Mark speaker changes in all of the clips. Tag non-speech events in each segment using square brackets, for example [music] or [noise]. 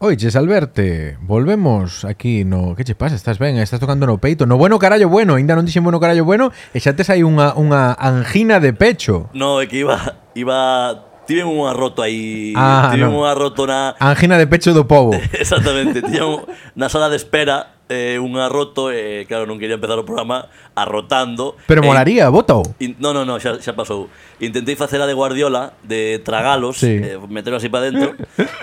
Speaker 1: Oiches, Alberte, volvemos aquí no... Que che pasa? Estás ben? Estás tocando no peito No bueno carallo bueno, ainda non dixen bueno carallo bueno E xa tes aí unha, unha angina de pecho
Speaker 2: No, é que iba iba tive un arroto aí,
Speaker 1: Ah,
Speaker 2: tive
Speaker 1: non.
Speaker 2: un arroto na
Speaker 1: Angina de pecho do povo
Speaker 2: [laughs] exactamente, tiña un, na sala de espera eh, un arroto e eh, claro, non quería empezar o programa arrotando.
Speaker 1: Pero
Speaker 2: E
Speaker 1: molaría, bótao
Speaker 2: in- no, no, no, xa, xa pasou. Intentei facer a de Guardiola de tragalos,
Speaker 1: Sí.
Speaker 2: sí. eh, metelo así para dentro.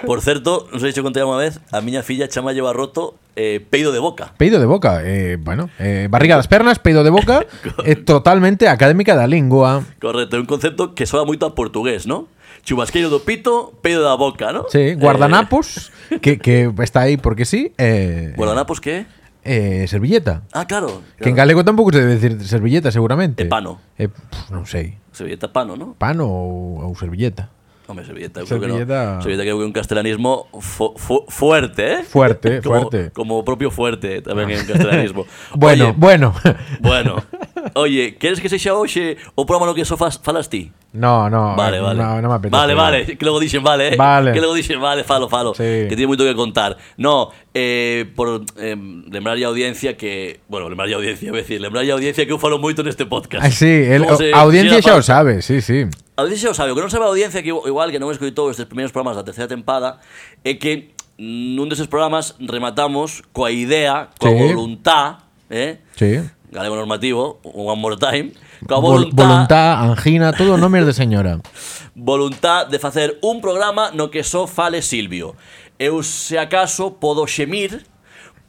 Speaker 2: Por certo, non sei se o contei unha vez, a miña filla chama lleva roto eh, peido de boca.
Speaker 1: Peido de boca, eh, bueno eh, Barriga das pernas, peido de boca
Speaker 2: [laughs]
Speaker 1: É totalmente académica da lingua
Speaker 2: Correcto, é un concepto que soa moito a portugués, non? Chubasqueiro do pito, peido da boca, non?
Speaker 1: Sí, guardanapos que, que está aí porque sí eh,
Speaker 2: Eh, guardanapos que?
Speaker 1: eh, Servilleta
Speaker 2: Ah, claro. claro.
Speaker 1: Que en galego tampouco se debe decir servilleta, seguramente
Speaker 2: E pano.
Speaker 1: eh, pff, Non sei
Speaker 2: Servilleta pano, ¿no?
Speaker 1: Pano ou, ou servilleta
Speaker 2: Hombre, servilleta, yo creo que no.
Speaker 1: Servilleta.
Speaker 2: Servilleta creo que un castellanismo fu- fu- fuerte, ¿eh?
Speaker 1: Fuerte,
Speaker 2: [laughs] como,
Speaker 1: fuerte. Ah.
Speaker 2: Como propio fuerte tamén en castellanismo.
Speaker 1: [laughs] Bueno,
Speaker 2: Oye,
Speaker 1: bueno [laughs]
Speaker 2: bueno. Oye, queres que sexa hoxe o programa no que só fas, falas ti?
Speaker 1: No, no, eh,
Speaker 2: Vale, vale.
Speaker 1: no, no me apetece
Speaker 2: Vale, vale, que luego dicen vale, eh.
Speaker 1: Vale.
Speaker 2: Que luego dicen vale, falo, falo.
Speaker 1: Sí.
Speaker 2: Que tiene mucho que contar. No, eh, por eh, lembrar a audiencia que, bueno, lembrar a audiencia, voy a decir, lembrar a audiencia que eu falo moito neste podcast.
Speaker 1: Ah, sí, el, o-
Speaker 2: Como se
Speaker 1: a audiencia e xa o
Speaker 2: quixera
Speaker 1: sabe, sí, sí
Speaker 2: A audiencia o sabe, o que non sabe a audiencia que igual que non escoitou estes primeiros programas da terceira tempada é que nun deses programas rematamos coa idea, coa
Speaker 1: Sí.
Speaker 2: voluntá, eh?
Speaker 1: Sí
Speaker 2: Galego normativo, one more time, coa
Speaker 1: Vol-
Speaker 2: voluntá,
Speaker 1: Voluntad, angina, todo nomes de
Speaker 2: [laughs]
Speaker 1: señora
Speaker 2: voluntá de facer un programa no que só fale Silvio. Eu se acaso podo xemir,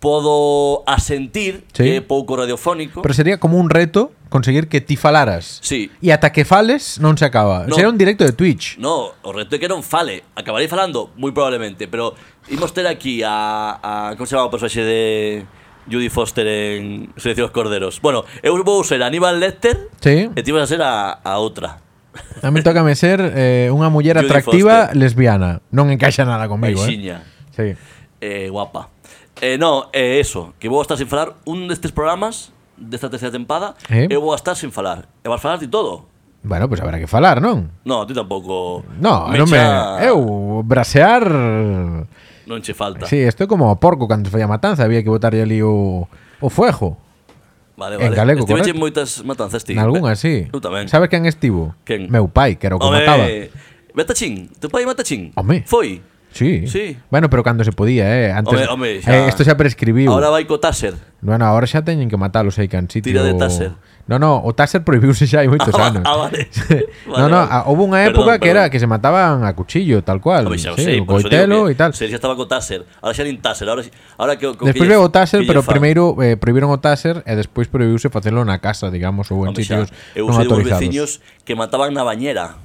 Speaker 2: podo asentir,
Speaker 1: Sí.
Speaker 2: que é pouco radiofónico.
Speaker 1: Pero sería como un reto conseguir que ti falaras
Speaker 2: Sí.
Speaker 1: E ata que fales non se acaba
Speaker 2: No.
Speaker 1: Será un directo de Twitch
Speaker 2: No, o reto é que non fale. Acabarei falando, moi probablemente, pero imos ter aquí a, a como se chama o personaxe de Judy Foster en Silencio dos Corderos. Bueno, eu vou ser Aníbal Lecter
Speaker 1: Sí.
Speaker 2: e ti vas a ser a, a outra.
Speaker 1: A mí tócame ser eh, unha muller
Speaker 2: Judy
Speaker 1: atractiva
Speaker 2: Foster.
Speaker 1: lesbiana Non encaixa nada comigo, eh
Speaker 2: Aixiña,
Speaker 1: Sí
Speaker 2: eh, guapa. Eh, no, eh, eso, que vou estar sin falar un destes programas desta terceira tempada,
Speaker 1: Eh.
Speaker 2: eu vou estar sin falar. E vas falar ti todo.
Speaker 1: Bueno, pois pues habrá que falar, non?
Speaker 2: No, ti tampouco.
Speaker 1: No, non
Speaker 2: xa-
Speaker 1: me... Eu, brasear...
Speaker 2: Non che falta.
Speaker 1: Sí, estoy como a porco cando foi a matanza, había que botarlle ali o, o fuego.
Speaker 2: Vale,
Speaker 1: en
Speaker 2: vale.
Speaker 1: galego,
Speaker 2: Estiveche
Speaker 1: correcto.
Speaker 2: en moitas matanzas ti.
Speaker 1: Nalgúnas, sí.
Speaker 2: Eu tamén.
Speaker 1: Sabes quen estivo?
Speaker 2: Quen?
Speaker 1: Meu pai, que era o que mataba.
Speaker 2: Matachín, teu pai Matachín.
Speaker 1: Home.
Speaker 2: Foi.
Speaker 1: Sí.
Speaker 2: Sí.
Speaker 1: Bueno, pero cando se podía, eh, antes
Speaker 2: Home, home, xa.
Speaker 1: eh, isto xa prescribiu.
Speaker 2: Ahora vai co Taser.
Speaker 1: Bueno, ahora xa teñen que matalos aí can sitio.
Speaker 2: Tira de Taser.
Speaker 1: No, no, o Taser prohibiuse
Speaker 2: [laughs]
Speaker 1: xa hai moitos
Speaker 2: Ah,
Speaker 1: anos.
Speaker 2: ah,
Speaker 1: [laughs]
Speaker 2: vale.
Speaker 1: no, no, a, houve unha época
Speaker 2: Perdón,
Speaker 1: que era
Speaker 2: perdón.
Speaker 1: que se mataban a cuchillo, tal cual.
Speaker 2: Home, xa o
Speaker 1: sí,
Speaker 2: sei,
Speaker 1: o
Speaker 2: por eso digo
Speaker 1: coitelo
Speaker 2: que
Speaker 1: e tal.
Speaker 2: Se xa estaba co Taser. Ahora xa nin Taser, ahora xa- ahora que co
Speaker 1: Despois
Speaker 2: que lle-
Speaker 1: veo o Taser,
Speaker 2: que
Speaker 1: pero
Speaker 2: lle fan.
Speaker 1: primeiro eh, prohibiron o Taser e despois prohibiuse facelo na casa, digamos, ou en
Speaker 2: Home,
Speaker 1: sitios
Speaker 2: xa, eu
Speaker 1: non
Speaker 2: sei dos
Speaker 1: autorizados.
Speaker 2: veciños que mataban na bañera.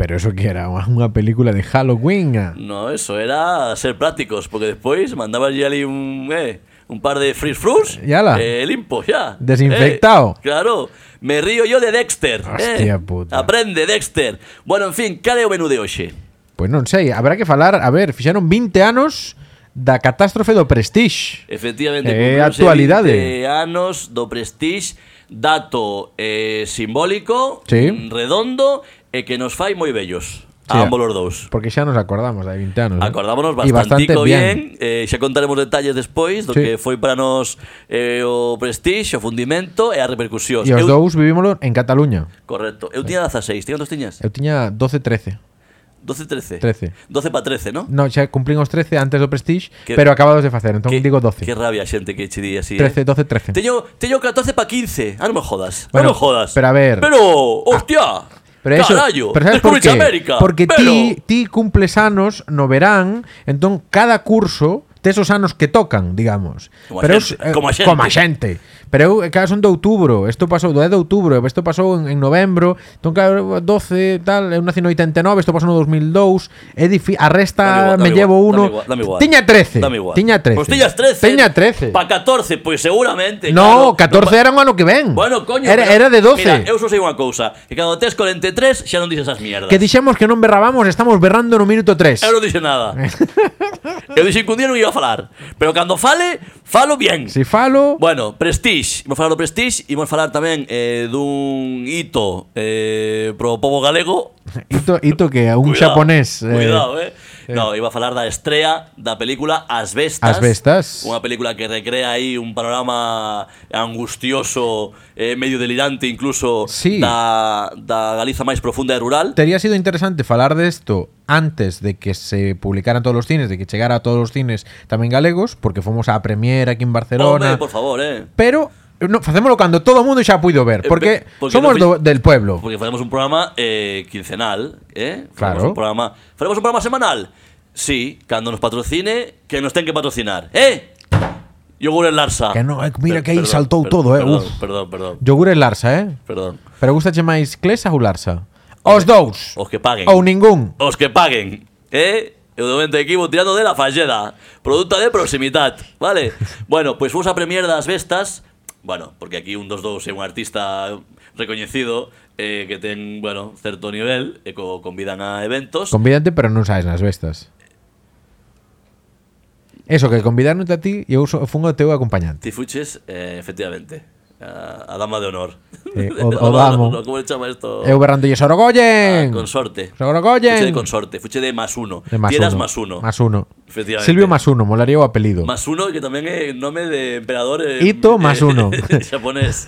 Speaker 1: Pero eso que era unha unha película de Halloween. ah.
Speaker 2: No, eso era ser prácticos, porque despois mandaban ya ali un, eh, un par de frizz frus
Speaker 1: Y ala.
Speaker 2: eh, limpo, ya.
Speaker 1: Desinfectado.
Speaker 2: Eh, claro, me río yo de Dexter. eh.
Speaker 1: Hostia puta.
Speaker 2: Aprende, Dexter. Bueno, en fin, cal é o menú de hoxe?
Speaker 1: Pois non sei, Pues habrá que falar, a ver, fixeron 20 anos da catástrofe do Prestige.
Speaker 2: Efectivamente,
Speaker 1: É Eh,
Speaker 2: cumprimos
Speaker 1: actualidade.
Speaker 2: 20 anos do Prestige, dato eh, simbólico,
Speaker 1: Sí.
Speaker 2: mm, redondo e que nos fai moi bellos
Speaker 1: Sí,
Speaker 2: a ambos os dous.
Speaker 1: Porque xa nos acordamos de 20 anos. eh?
Speaker 2: Acordámonos
Speaker 1: E
Speaker 2: bastantico bien, eh, xa contaremos detalles despois do
Speaker 1: Sí.
Speaker 2: que foi para nos eh, o Prestige, o fundimento e a repercusión.
Speaker 1: E os dous vivímoslo en Cataluña.
Speaker 2: Correcto. Eu tiña 16, ti cantos tiñas?
Speaker 1: Eu tiña 12, 13.
Speaker 2: 12, 13.
Speaker 1: 13.
Speaker 2: 12 para 13, ¿no?
Speaker 1: No, xa cumplín os 13 antes do Prestige,
Speaker 2: Que-
Speaker 1: pero acabados de facer, entón
Speaker 2: Que-
Speaker 1: digo
Speaker 2: Que
Speaker 1: 12.
Speaker 2: rabia xente que che di así. eh.
Speaker 1: 13, 12, 13.
Speaker 2: Teño, teño 14 para 15. Ah, no me jodas.
Speaker 1: Bueno,
Speaker 2: no me jodas.
Speaker 1: pero a ver. Ah,
Speaker 2: Pero, hostia.
Speaker 1: Pero eso,
Speaker 2: Carallo.
Speaker 1: pero ¿sabes por
Speaker 2: Descubriste
Speaker 1: qué?
Speaker 2: América.
Speaker 1: Porque
Speaker 2: pero...
Speaker 1: ti, ti cumples anos no verán, entón cada curso tes os anos que tocan, digamos.
Speaker 2: Como a
Speaker 1: pero
Speaker 2: xente,
Speaker 1: eu- eh,
Speaker 2: como a xente.
Speaker 1: como a xente. Pero eu, eh, claro, son de outubro, isto pasou do 10 de outubro, isto pasou en, en novembro, entón claro, 12, tal, eu nací no 89, isto pasou no 2002, é difi- a resta
Speaker 2: Dame igual,
Speaker 1: ah, me
Speaker 2: dame
Speaker 1: llevo
Speaker 2: igual,
Speaker 1: uno.
Speaker 2: dame igual, dame igual.
Speaker 1: Tiña 13.
Speaker 2: Dame igual.
Speaker 1: Tiña 13.
Speaker 2: Pues tiñas 13.
Speaker 1: Tiña 13.
Speaker 2: Pa 14, pues seguramente.
Speaker 1: No,
Speaker 2: claro.
Speaker 1: 14
Speaker 2: No,
Speaker 1: era un ano que ven.
Speaker 2: Bueno, coño.
Speaker 1: Era,
Speaker 2: pero-
Speaker 1: era de 12.
Speaker 2: Mira, eu só sei unha cousa. Que cando tes 43 xa non dices esas mierdas.
Speaker 1: Que dixemos que non berrábamos, estamos berrando no minuto 3.
Speaker 2: Eu non
Speaker 1: [laughs]
Speaker 2: dixen nada. eu dixen que un día non iba a falar. Pero cando fale, falo bien.
Speaker 1: Si falo,
Speaker 2: Bueno, Prestige, imos falar do Prestige Imos falar tamén eh, dun hito eh, pro povo galego
Speaker 1: Ito, ito que a un
Speaker 2: Cuidado,
Speaker 1: xaponés eh,
Speaker 2: Cuidado, eh. No, iba a falar da estrea da película As
Speaker 1: As
Speaker 2: Bestas.
Speaker 1: Bestas.
Speaker 2: Unha película que recrea aí un panorama angustioso, eh, medio delirante incluso
Speaker 1: Sí.
Speaker 2: da, da Galiza máis profunda e rural.
Speaker 1: Tería sido interesante falar de esto antes de que se publicaran todos los cines, de que llegara a todos los cines tamén galegos, porque fomos á Premier aquí en Barcelona.
Speaker 2: Hombre, por favor, eh.
Speaker 1: Pero no, facémolo cando todo o mundo xa puido ver,
Speaker 2: Eh,
Speaker 1: porque,
Speaker 2: pe- porque
Speaker 1: somos do-
Speaker 2: no
Speaker 1: del pueblo.
Speaker 2: Pues Porque faremos un programa eh, quincenal, ¿eh? Faremos
Speaker 1: Claro.
Speaker 2: Un programa, ¿Faremos un programa semanal? Sí, cuando nos patrocine, que nos tengan que patrocinar, ¿eh? Yogur Larsa.
Speaker 1: Que no, eh, mira
Speaker 2: Per-
Speaker 1: que aí
Speaker 2: perdón,
Speaker 1: saltou
Speaker 2: per-
Speaker 1: todo, eh,
Speaker 2: Perdón,
Speaker 1: uf.
Speaker 2: perdón, perdón,
Speaker 1: Yogur e Larsa, eh?
Speaker 2: perdón.
Speaker 1: Pero gustache máis Clesa ou Larsa? Os dous.
Speaker 2: Os que paguen.
Speaker 1: Ou ningún.
Speaker 2: Os que paguen, ¿eh? Eu de momento equipo tirando de la falleda. Producto de proximidad,
Speaker 1: [laughs]
Speaker 2: ¿vale? bueno, pues vamos a premiar das bestas. Bueno, porque aquí un 2-2 é un artista recoñecido eh, que ten, bueno, certo nivel e co convidan a eventos.
Speaker 1: Convídate, pero non sabes nas bestas. Eso, que convidarnos a ti e eu so- fun o teu acompañante.
Speaker 2: Ti fuches, eh, efectivamente. A, a dama [laughs] de honor.
Speaker 1: Eh, o- o
Speaker 2: A dama de
Speaker 1: damo.
Speaker 2: honor, ¿Cómo le chama esto?
Speaker 1: Eu berrando e
Speaker 2: Ah,
Speaker 1: Sorogollen.
Speaker 2: consorte.
Speaker 1: Sorogollen.
Speaker 2: Fuche de consorte, fuche de más uno.
Speaker 1: De más
Speaker 2: Tieras
Speaker 1: uno.
Speaker 2: más uno.
Speaker 1: Más uno.
Speaker 2: Efectivamente.
Speaker 1: Silvio más uno, molaría o apelido.
Speaker 2: Más uno, que también es nombre de emperador. eh,
Speaker 1: Ito más
Speaker 2: [laughs]
Speaker 1: uno. [laughs]
Speaker 2: japonés.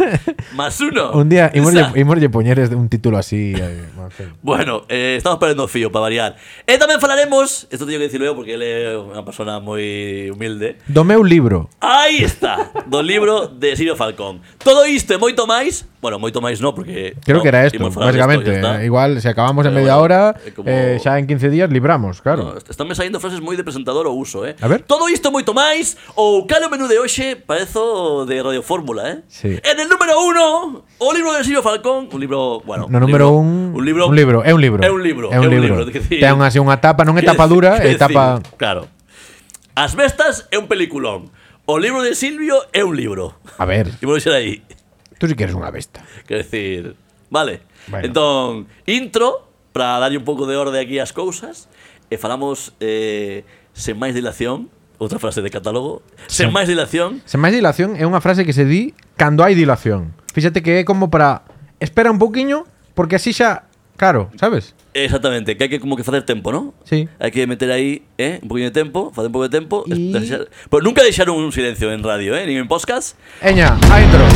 Speaker 2: Más uno.
Speaker 1: Un día
Speaker 2: Esa.
Speaker 1: imos lle- imos lle poñeres este, un título así.
Speaker 2: [laughs]
Speaker 1: eh, en fin.
Speaker 2: Bueno, eh, estamos perdiendo fío para variar. E también hablaremos, esto tengo que decirlo yo porque él es una persona muy humilde.
Speaker 1: Do meu libro.
Speaker 2: Ahí está, do libro de Sirio Falcón. Todo isto e moito máis, bueno, moito máis no, porque...
Speaker 1: Creo
Speaker 2: no,
Speaker 1: que era esto,
Speaker 2: imos falar disto,
Speaker 1: básicamente.
Speaker 2: ya está.
Speaker 1: eh, Igual, si acabamos en
Speaker 2: Pero
Speaker 1: media
Speaker 2: bueno,
Speaker 1: hora,
Speaker 2: é como-
Speaker 1: eh, ya en 15 días libramos,
Speaker 2: No,
Speaker 1: claro.
Speaker 2: est- están me saindo frases moi de presentador ou uso, eh?
Speaker 1: A ver.
Speaker 2: Todo isto e moito máis ou calo menú de hoxe parezo de Radio Fórmula, eh?
Speaker 1: Sí.
Speaker 2: En el número uno, o libro de Silvio Falcón, un libro, bueno,
Speaker 1: No, número
Speaker 2: libro-
Speaker 1: un,
Speaker 2: un libro,
Speaker 1: un libro, é un libro.
Speaker 2: É un libro,
Speaker 1: É un libro.
Speaker 2: é dicir-
Speaker 1: Ten así unha tapa,
Speaker 2: [laughs]
Speaker 1: non é
Speaker 2: que
Speaker 1: tapa
Speaker 2: dicir-
Speaker 1: dura, é
Speaker 2: que
Speaker 1: tapa-
Speaker 2: dicir, Claro. As bestas é un peliculón. O libro de Silvio é un libro.
Speaker 1: A ver,
Speaker 2: E vou deixar aí.
Speaker 1: tú sí que eres unha besta.
Speaker 2: Quero decir, vale.
Speaker 1: Bueno.
Speaker 2: Entón, intro para darlle un pouco de orde aquí ás cousas e falamos eh, sen máis dilación, outra frase de catálogo, sen máis dilación.
Speaker 1: Sen máis dilación é unha frase que se di cando hai dilación. Fíxate que é como para espera un pouquiño porque así xa, claro, sabes?
Speaker 2: Exactamente, que hai que como que facer tempo, non?
Speaker 1: Sí.
Speaker 2: Hai que meter aí, eh, un poquinho de tempo, facer un pouco de tempo,
Speaker 1: Y-
Speaker 2: es- deixar- pero nunca deixar un silencio en radio, eh, nin en podcast.
Speaker 1: Eña, a intro.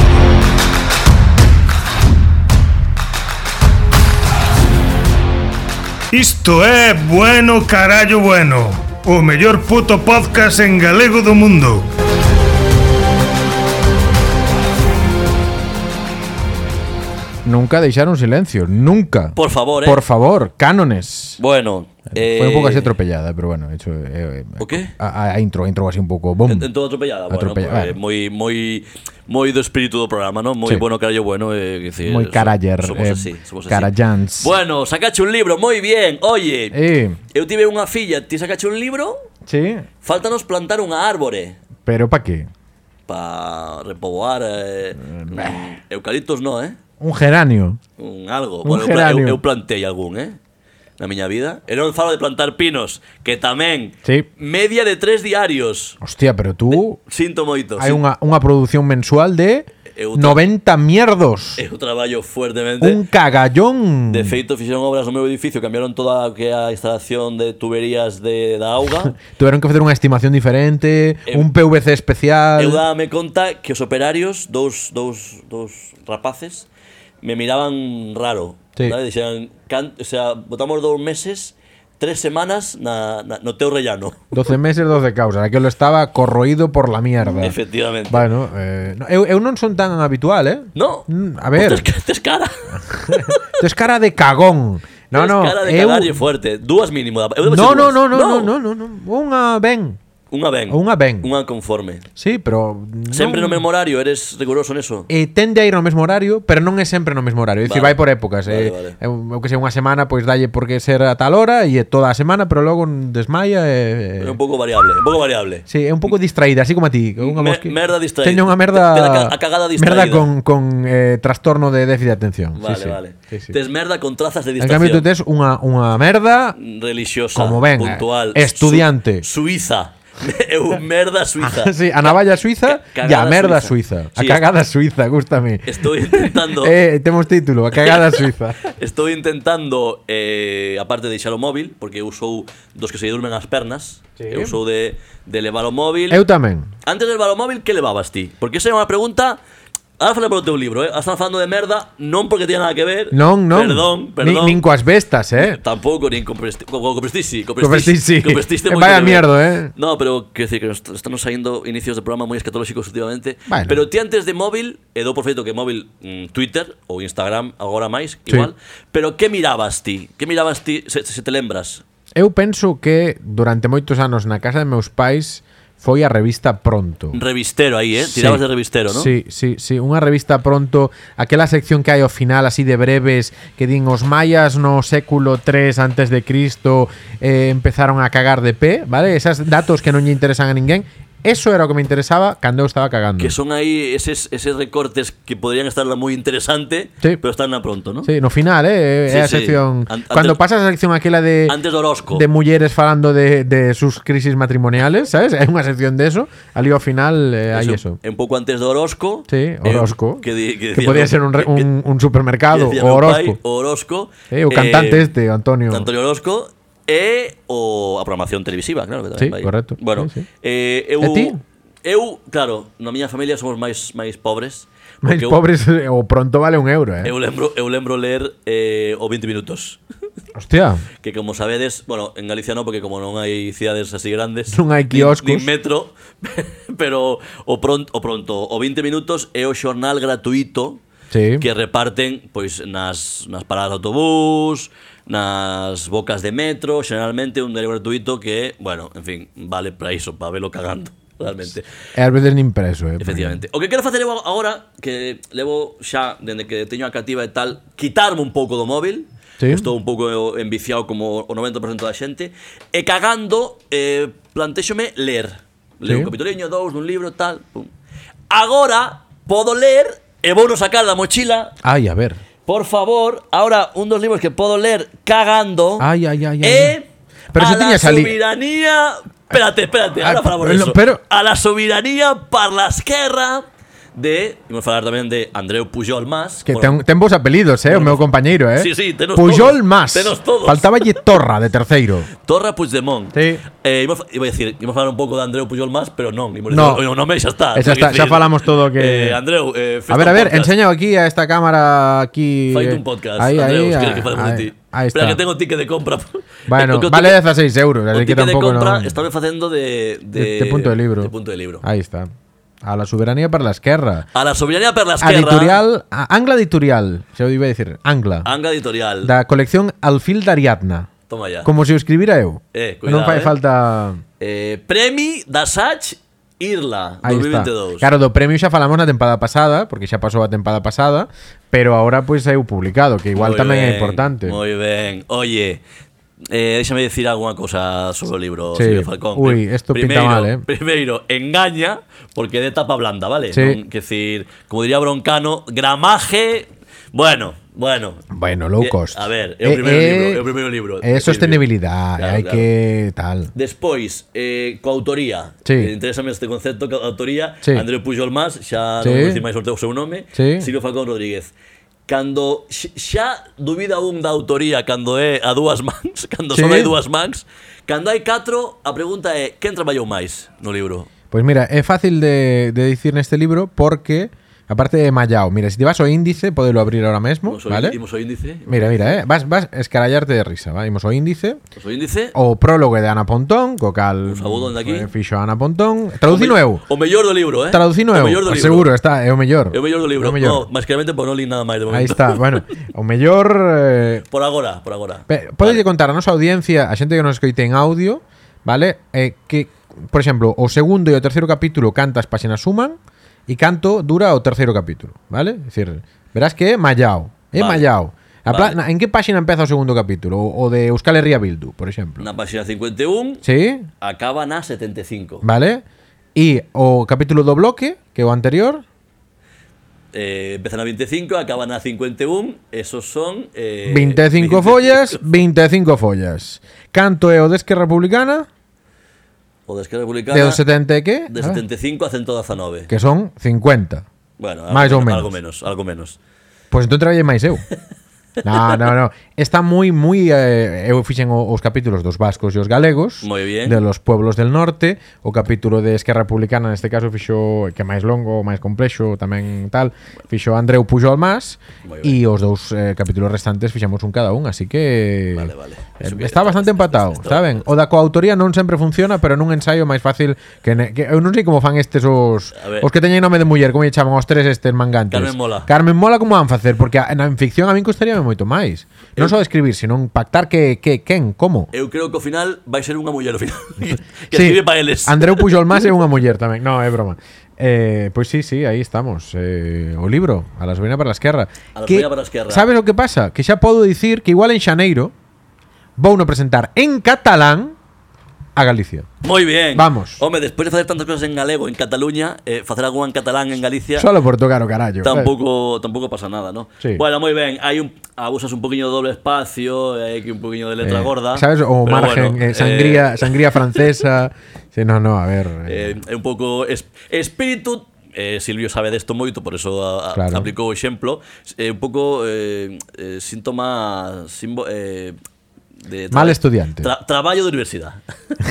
Speaker 3: Isto é Bueno Carallo Bueno O mellor puto podcast en galego do mundo
Speaker 1: Nunca deixar un silencio, nunca.
Speaker 2: Por favor, eh.
Speaker 1: Por favor, cánones.
Speaker 2: Bueno, eh,
Speaker 1: Foi un pouco así atropellada, pero bueno, hecho eh, eh,
Speaker 2: O qué?
Speaker 1: A, a intro, a intro así un pouco bom.
Speaker 2: En, en Entón todo atropellada, bueno,
Speaker 1: Atropella-
Speaker 2: pues,
Speaker 1: Mm. bueno.
Speaker 2: moi moi moi do espírito do programa, non?
Speaker 1: Sí.
Speaker 2: Moi bueno carallo bueno, eh, que decir,
Speaker 1: Moi
Speaker 2: so-
Speaker 1: caraller,
Speaker 2: Somos
Speaker 1: eh,
Speaker 2: así, somos así.
Speaker 1: carallans.
Speaker 2: Bueno, sacache un libro, moi bien. Oye,
Speaker 1: Eh,
Speaker 2: eu tive unha filla, ti sacache un libro?
Speaker 1: sí,
Speaker 2: Faltanos plantar unha árbore
Speaker 1: pero pa que?
Speaker 2: para repoboar eh, mm, eucaliptos non, eh?
Speaker 1: Un geranio.
Speaker 2: Un algo.
Speaker 1: Un
Speaker 2: eu, pla- eu,
Speaker 1: geranio.
Speaker 2: eu plantei algún, eh? Na miña vida. E non falo de plantar pinos, que tamén
Speaker 1: Sí.
Speaker 2: media de tres diarios.
Speaker 1: Hostia, pero tú
Speaker 2: Sinto moito.
Speaker 1: hai
Speaker 2: sin-
Speaker 1: unha unha produción mensual de
Speaker 2: Eu
Speaker 1: 90 mierdos.
Speaker 2: Eu traballo fuertemente.
Speaker 1: Un cagallón.
Speaker 2: De feito, fixeron obras no meu edificio, cambiaron toda a que a instalación de tuberías de, da auga.
Speaker 1: [laughs] Tiveron que facer unha estimación diferente,
Speaker 2: Eu-
Speaker 1: un PVC especial.
Speaker 2: Eh, Eu dábame conta que os operarios, dous, dous, dous rapaces, me miraban raro.
Speaker 1: Sí.
Speaker 2: ¿vale? Dixeran, can, o sea, botamos dous meses, tres semanas na, na, no teu
Speaker 1: [laughs]
Speaker 2: rellano.
Speaker 1: 12 meses, 12 causas. Aquilo estaba corroído por la mierda.
Speaker 2: Efectivamente.
Speaker 1: Bueno, eh, no, eu, eu non son tan habitual, eh?
Speaker 2: No,
Speaker 1: Mm, a ver.
Speaker 2: Tes,
Speaker 1: [laughs]
Speaker 2: ca- tes cara.
Speaker 1: Tes cara de cagón. No,
Speaker 2: tes
Speaker 1: no.
Speaker 2: cara de
Speaker 1: eu...
Speaker 2: cagarlle fuerte. Dúas mínimo. da- eu debo
Speaker 1: No,
Speaker 2: ser
Speaker 1: no,
Speaker 2: dúas.
Speaker 1: no, no, no, no, no, no. Unha ben.
Speaker 2: Unha ben.
Speaker 1: Unha ben.
Speaker 2: Unha conforme.
Speaker 1: Sí, pero non...
Speaker 2: Sempre no mesmo horario, eres riguroso neso.
Speaker 1: eh, tende a ir no mesmo horario, pero non é sempre no mesmo horario. É dicir, vai
Speaker 2: Vale.
Speaker 1: por épocas. eh,
Speaker 2: Vale, vale.
Speaker 1: eu, eu que sei, unha semana, pois dalle porque ser a tal hora e é toda a semana, pero logo desmaia e...
Speaker 2: É un pouco variable, un pouco variable.
Speaker 1: Sí, é un pouco distraída, así como a ti. Unha
Speaker 2: Me-
Speaker 1: mosqui-
Speaker 2: merda distraída.
Speaker 1: Teño unha merda...
Speaker 2: Te- te da ca- a cagada
Speaker 1: Merda
Speaker 2: distraída.
Speaker 1: con, con eh, trastorno de déficit de atención. Sí,
Speaker 2: Vale,
Speaker 1: sí.
Speaker 2: vale.
Speaker 1: Sí, sí.
Speaker 2: Tes merda con trazas
Speaker 1: En
Speaker 2: de distracción.
Speaker 1: cambio, tú tes unha, unha merda
Speaker 2: religiosa,
Speaker 1: Como venga,
Speaker 2: puntual,
Speaker 1: estudiante.
Speaker 2: su- suiza, [laughs] É un merda
Speaker 1: [laughs]
Speaker 2: suiza.
Speaker 1: sí, a navalla suiza
Speaker 2: Ca-
Speaker 1: e a
Speaker 2: cagada
Speaker 1: merda
Speaker 2: suiza.
Speaker 1: suiza. a
Speaker 2: Sí,
Speaker 1: cagada suiza, gústame.
Speaker 2: Estoy
Speaker 1: [laughs]
Speaker 2: intentando
Speaker 1: Eh, temos título, a
Speaker 2: [laughs]
Speaker 1: cagada suiza.
Speaker 2: Estou intentando eh, aparte de deixar o móvil porque eu sou dos que se lle durmen as pernas.
Speaker 1: Sí.
Speaker 2: Eu sou de, de levar o móvil.
Speaker 1: Eu tamén.
Speaker 2: Antes de levar o móvil, que levabas ti? Porque esa é unha pregunta Ahora falei polo teu libro, eh? Ahora Están falando de merda Non porque tiña nada que ver
Speaker 1: Non, non.
Speaker 2: Perdón,
Speaker 1: Ni,
Speaker 2: perdón
Speaker 1: nin coas bestas, eh.
Speaker 2: Tampouco, nin con presti- co- co- co prestixi co
Speaker 1: prestixi.
Speaker 2: prestixi co prestixi
Speaker 1: [laughs]
Speaker 2: moi
Speaker 1: Vaya
Speaker 2: que debe.
Speaker 1: mierdo, eh.
Speaker 2: No, pero quero decir que nos- estamos saindo inicios de programa moi escatolóxicos últimamente
Speaker 1: Bueno.
Speaker 2: Pero ti antes de móvil, e dou por feito que móvil mm, Twitter ou Instagram agora máis,
Speaker 1: Sí.
Speaker 2: igual Pero que mirabas ti? Que mirabas ti, se, se te lembras?
Speaker 1: Eu penso que durante moitos anos na casa de meus pais foi a revista Pronto.
Speaker 2: Revistero aí, eh? Tirabas de revistero, non?
Speaker 1: Sí, sí, sí, unha revista pronto, aquela sección que hai ao final así de breves que din os mayas no século 3 antes de Cristo eh, empezaron a cagar de pé, vale? Esas datos que non lle interesan a ninguén, eso era o que me interesaba cando eu estaba cagando.
Speaker 2: Que son aí eses, eses recortes que podrían estar moi interesante,
Speaker 1: Sí.
Speaker 2: pero están na pronto, non?
Speaker 1: Sí, no final, eh, é
Speaker 2: Sí,
Speaker 1: a
Speaker 2: sí.
Speaker 1: sección.
Speaker 2: An- antes-
Speaker 1: Cando pasas a sección aquela de
Speaker 2: Antes do Orozco.
Speaker 1: de mulleres falando de, de sus crisis matrimoniales, ¿sabes? [laughs] Hay una sección de eso. Al lío final eh, hay eso.
Speaker 2: Un pouco antes do Orozco.
Speaker 1: Sí,
Speaker 2: eh,
Speaker 1: Orozco.
Speaker 2: que, di- que
Speaker 1: que
Speaker 2: decía-
Speaker 1: podía ser un, re-
Speaker 2: que-
Speaker 1: un, un
Speaker 2: que
Speaker 1: supermercado.
Speaker 2: decía
Speaker 1: O
Speaker 2: meu
Speaker 1: Orozco.
Speaker 2: pai,
Speaker 1: [laughs]
Speaker 2: o Orozco.
Speaker 1: Eh, o cantante este, Antonio.
Speaker 2: Antonio Orozco. E o a programación televisiva, claro. que tamén
Speaker 1: Sí,
Speaker 2: vai.
Speaker 1: correcto.
Speaker 2: Bueno,
Speaker 1: Sí, sí.
Speaker 2: eh, eu,
Speaker 1: E ti?
Speaker 2: eu, claro, na miña familia somos máis máis pobres.
Speaker 1: Máis
Speaker 2: porque eu-
Speaker 1: pobres, eh, o pronto vale un euro, eh.
Speaker 2: Eu lembro, eu lembro ler eh, o 20 minutos.
Speaker 1: Hostia.
Speaker 2: Que como sabedes, bueno, en Galicia no, porque como non hai cidades así grandes
Speaker 1: Non hai
Speaker 2: nin-
Speaker 1: quioscos.
Speaker 2: Nin metro [laughs] Pero o pronto, o pronto o 20 minutos é o xornal gratuito
Speaker 1: Sí.
Speaker 2: Que reparten pois nas, nas paradas de autobús Nas bocas de metro Generalmente un diario gratuito que, bueno, en fin Vale para iso, para velo cagando [laughs] Realmente
Speaker 1: E ás veces nin preso, eh.
Speaker 2: Efectivamente. O que quero facer eu agora, que levo xa, dende que teño a cativa e tal, quitarme un pouco do móvil,
Speaker 1: Sí.
Speaker 2: estou un pouco enviciado como o 90% da xente, e cagando, eh, plantexome ler.
Speaker 1: Sí.
Speaker 2: Leo un capituliño, dous, dun libro, tal, pum. Agora, podo ler, e vou sacar da mochila,
Speaker 1: Ay, a ver.
Speaker 2: por favor, ahora, un dos libros que podo ler cagando,
Speaker 1: Ai, ai, ai, ai,
Speaker 2: é
Speaker 1: Pero
Speaker 2: a
Speaker 1: si
Speaker 2: la
Speaker 1: tiñas ali-
Speaker 2: soberanía... Espérate, espérate,
Speaker 1: Ah,
Speaker 2: ahora falamos
Speaker 1: pero-
Speaker 2: diso.
Speaker 1: pero-
Speaker 2: A la soberanía para la esquerra de... Imos falar tamén de Andreu Pujol más.
Speaker 1: Que ten, ten vos apelidos, eh, o meu compañeiro, eh.
Speaker 2: pues- Sí, sí, tenos
Speaker 1: Puyol
Speaker 2: todos.
Speaker 1: más.
Speaker 2: Tenos todos.
Speaker 1: Faltaba Torra de
Speaker 2: [laughs]
Speaker 1: terceiro.
Speaker 2: Torra Puigdemont.
Speaker 1: Sí.
Speaker 2: Eh, imos, fa- iba a decir, íbamos a falar un pouco de Andreu Pujol más, pero non. Imos
Speaker 1: No.
Speaker 2: Dicir, o, o nome xa está.
Speaker 1: Xa
Speaker 2: Tengo que
Speaker 1: está, xa
Speaker 2: decir,
Speaker 1: falamos todo que-
Speaker 2: Eh, Andreu, eh,
Speaker 1: A
Speaker 2: festa
Speaker 1: ver, a
Speaker 2: un
Speaker 1: ver,
Speaker 2: podcast.
Speaker 1: enseño aquí a esta cámara aquí.
Speaker 2: Faite
Speaker 1: eh,
Speaker 2: un podcast,
Speaker 1: Ahí,
Speaker 2: Andreu,
Speaker 1: ahí,
Speaker 2: si quieres
Speaker 1: ah,
Speaker 2: que falemos de
Speaker 1: ahí,
Speaker 2: ti.
Speaker 1: ahí
Speaker 2: Espera,
Speaker 1: está.
Speaker 2: que tengo ticket de compra. [laughs]
Speaker 1: Bueno,
Speaker 2: Eh, que o
Speaker 1: vale
Speaker 2: ticket-
Speaker 1: 16 euros,
Speaker 2: o
Speaker 1: así que
Speaker 2: Pues ticket de
Speaker 1: tampoco
Speaker 2: compra
Speaker 1: no-
Speaker 2: estame facendo de, de,
Speaker 1: De, de punto de libro.
Speaker 2: De punto de libro.
Speaker 1: Ahí está. A la soberanía para la esquerra.
Speaker 2: A la soberanía per la esquerra.
Speaker 1: Editorial, a- Angla Editorial, se lo iba a decir, Angla.
Speaker 2: Anga editorial.
Speaker 1: Da colección Alfil de Ariadna.
Speaker 2: Toma ya.
Speaker 1: Como si o escribira eu.
Speaker 2: Eh,
Speaker 1: non
Speaker 2: cuidado,
Speaker 1: fai
Speaker 2: eh.
Speaker 1: falta...
Speaker 2: Eh, premi da Sach Irla
Speaker 1: Aí está.
Speaker 2: 2022.
Speaker 1: Claro, do premio xa falamos na tempada pasada, porque xa pasou a tempada pasada, pero ahora pois pues, hai o publicado, que igual
Speaker 2: Moi
Speaker 1: tamén é
Speaker 2: ben,
Speaker 1: importante.
Speaker 2: Moi ben. Oye, eh, déxame decir alguna cosa sobre o libro,
Speaker 1: Sí.
Speaker 2: Silvio Falcón.
Speaker 1: Ui, esto pinta mal, eh.
Speaker 2: Primeiro, engaña, porque é de tapa blanda, vale?
Speaker 1: Sí.
Speaker 2: Non, que decir, como diría Broncano, gramaje... Bueno, bueno.
Speaker 1: Bueno, low
Speaker 2: Eh,
Speaker 1: cost. eh,
Speaker 2: a ver, é o primeiro libro, é o primeiro libro de
Speaker 1: É
Speaker 2: Silvio.
Speaker 1: sostenibilidade,
Speaker 2: Claro,
Speaker 1: hai
Speaker 2: claro.
Speaker 1: que tal.
Speaker 2: Despois, eh, coautoría.
Speaker 1: Sí.
Speaker 2: Eh, Interésame este concepto, coautoría.
Speaker 1: Sí.
Speaker 2: Andreu Pujol Mas, xa
Speaker 1: Sí.
Speaker 2: non vou dicir máis sorteo o seu nome.
Speaker 1: Sí.
Speaker 2: Silvio Falcón Rodríguez. Cando x- xa dubida un da autoría cando é a dúas [laughs] mans, cando
Speaker 1: Sí.
Speaker 2: só hai dúas mans, cando hai catro, a pregunta é quen traballou máis no libro?
Speaker 1: Pois Pues mira, é fácil de, de dicir neste libro porque aparte de Mallao, mira, se ti vas ao índice, podelo abrir ahora mesmo,
Speaker 2: Imos o
Speaker 1: vale?
Speaker 2: imos o índice.
Speaker 1: Mira, mira, eh, vas vas a escarallarte de risa, va? Imos ao índice,
Speaker 2: Imos o índice.
Speaker 1: o prólogo de Ana Pontón, co cal
Speaker 2: Un saúdo onde aquí.
Speaker 1: eh, fixo Ana Pontón. Traducino
Speaker 2: me-
Speaker 1: eu.
Speaker 2: O mellor do libro, eh?
Speaker 1: Traducino
Speaker 2: o
Speaker 1: eu.
Speaker 2: mellor do libro.
Speaker 1: Ah, Seguro, está, é o mellor.
Speaker 2: É o mellor do libro.
Speaker 1: É o mellor.
Speaker 2: No, basicamente por pois, non li nada máis de momento.
Speaker 1: Aí está, bueno, o mellor eh,
Speaker 2: [laughs] Por agora, por agora.
Speaker 1: Pe- Podelle contar a nosa audiencia, a xente que nos escoite en audio, vale? Eh, que, por exemplo, o segundo e o terceiro capítulo cantas páxinas suman e canto dura o terceiro capítulo, vale? É dicir, verás que é mallao, é
Speaker 2: Vale.
Speaker 1: mallao. A pla- na-
Speaker 2: Vale.
Speaker 1: En que páxina empeza o segundo capítulo? O, o de Euskal Herria Bildu, por exemplo.
Speaker 2: Na página 51
Speaker 1: Sí,
Speaker 2: acaba na 75.
Speaker 1: vale? E o capítulo do bloque, que é o anterior,
Speaker 2: Eh, empezan a 25, acaban a 51. Esos son. eh,
Speaker 1: 25 follas, 25 follas. Canto é o de Esquerra Republicana?
Speaker 2: o de Esquerra Republicana
Speaker 1: De los 70 e que? A ver.
Speaker 2: de 75 a 119.
Speaker 1: Que son 50.
Speaker 2: Bueno,
Speaker 1: Máis ou
Speaker 2: algo,
Speaker 1: menos.
Speaker 2: algo menos, algo menos.
Speaker 1: Pois entón traballei máis
Speaker 2: [laughs]
Speaker 1: eu. No, no, no. Está moi, moi... Eh, eu fixen o- os capítulos dos vascos e os galegos.
Speaker 2: Moi bien.
Speaker 1: De los pueblos del norte. O capítulo de Esquerra Republicana, neste caso, fixo... Que é máis longo, máis complexo, tamén tal. Fixo Andreu Pujol más.
Speaker 2: Moi
Speaker 1: E
Speaker 2: ben.
Speaker 1: os dous eh, capítulos restantes fixamos un cada un, así que...
Speaker 2: Vale, vale.
Speaker 1: Eh,
Speaker 2: Eso que
Speaker 1: está
Speaker 2: está-
Speaker 1: bastante
Speaker 2: está-
Speaker 1: empatado,
Speaker 2: está-
Speaker 1: saben? O da coautoría non sempre funciona, pero nun ensaio é máis fácil que, ne, que eu non sei como fan estes os
Speaker 2: A ver.
Speaker 1: os que teñen nome de muller, como lle chaman os tres estes mangantes.
Speaker 2: Carmen Mola.
Speaker 1: Carmen Mola como van facer? Porque a- na en ficción a min costaríame moito máis. Non
Speaker 2: Eh.
Speaker 1: só escribir, senón pactar que que quen, como.
Speaker 2: Eu creo que ao final vai ser unha muller
Speaker 1: [laughs]
Speaker 2: ao final. que [laughs] que escribe para eles.
Speaker 1: Andreu Pujol Mas é
Speaker 2: [laughs]
Speaker 1: unha muller tamén. Non, é broma. Eh, pois sí, sí, aí estamos. Eh, o libro, A la sobrina para a esquerra.
Speaker 2: A la
Speaker 1: Que-
Speaker 2: sobrina para a esquerra.
Speaker 1: Sabes o que pasa? Que xa podo dicir que igual en xaneiro vou no presentar en catalán a Galicia.
Speaker 2: Moi bien.
Speaker 1: Vamos.
Speaker 2: Home, despois de facer tantas cosas en galego en Cataluña, eh, facer algunha en catalán en Galicia
Speaker 1: Solo por tocar o carallo.
Speaker 2: tampouco tampouco pasa nada, ¿no?
Speaker 1: Sí.
Speaker 2: Bueno, moi ben, hai un abusas un poquinho do doble espacio, hai aquí un poquinho de
Speaker 1: Eh,
Speaker 2: letra gorda.
Speaker 1: Sabes o
Speaker 2: pero
Speaker 1: margen
Speaker 2: bueno,
Speaker 1: eh, sangría, sangría
Speaker 2: [laughs]
Speaker 1: francesa. Sí, no, no, a ver. eh,
Speaker 2: Eh, é un pouco es, espírito eh, Silvio sabe desto moito, por eso a, a,
Speaker 1: Claro.
Speaker 2: aplicou o exemplo É un pouco eh, eh, síntoma simbo, eh, de
Speaker 1: Mal estudiante.
Speaker 2: tra- Traballo de universidade [laughs]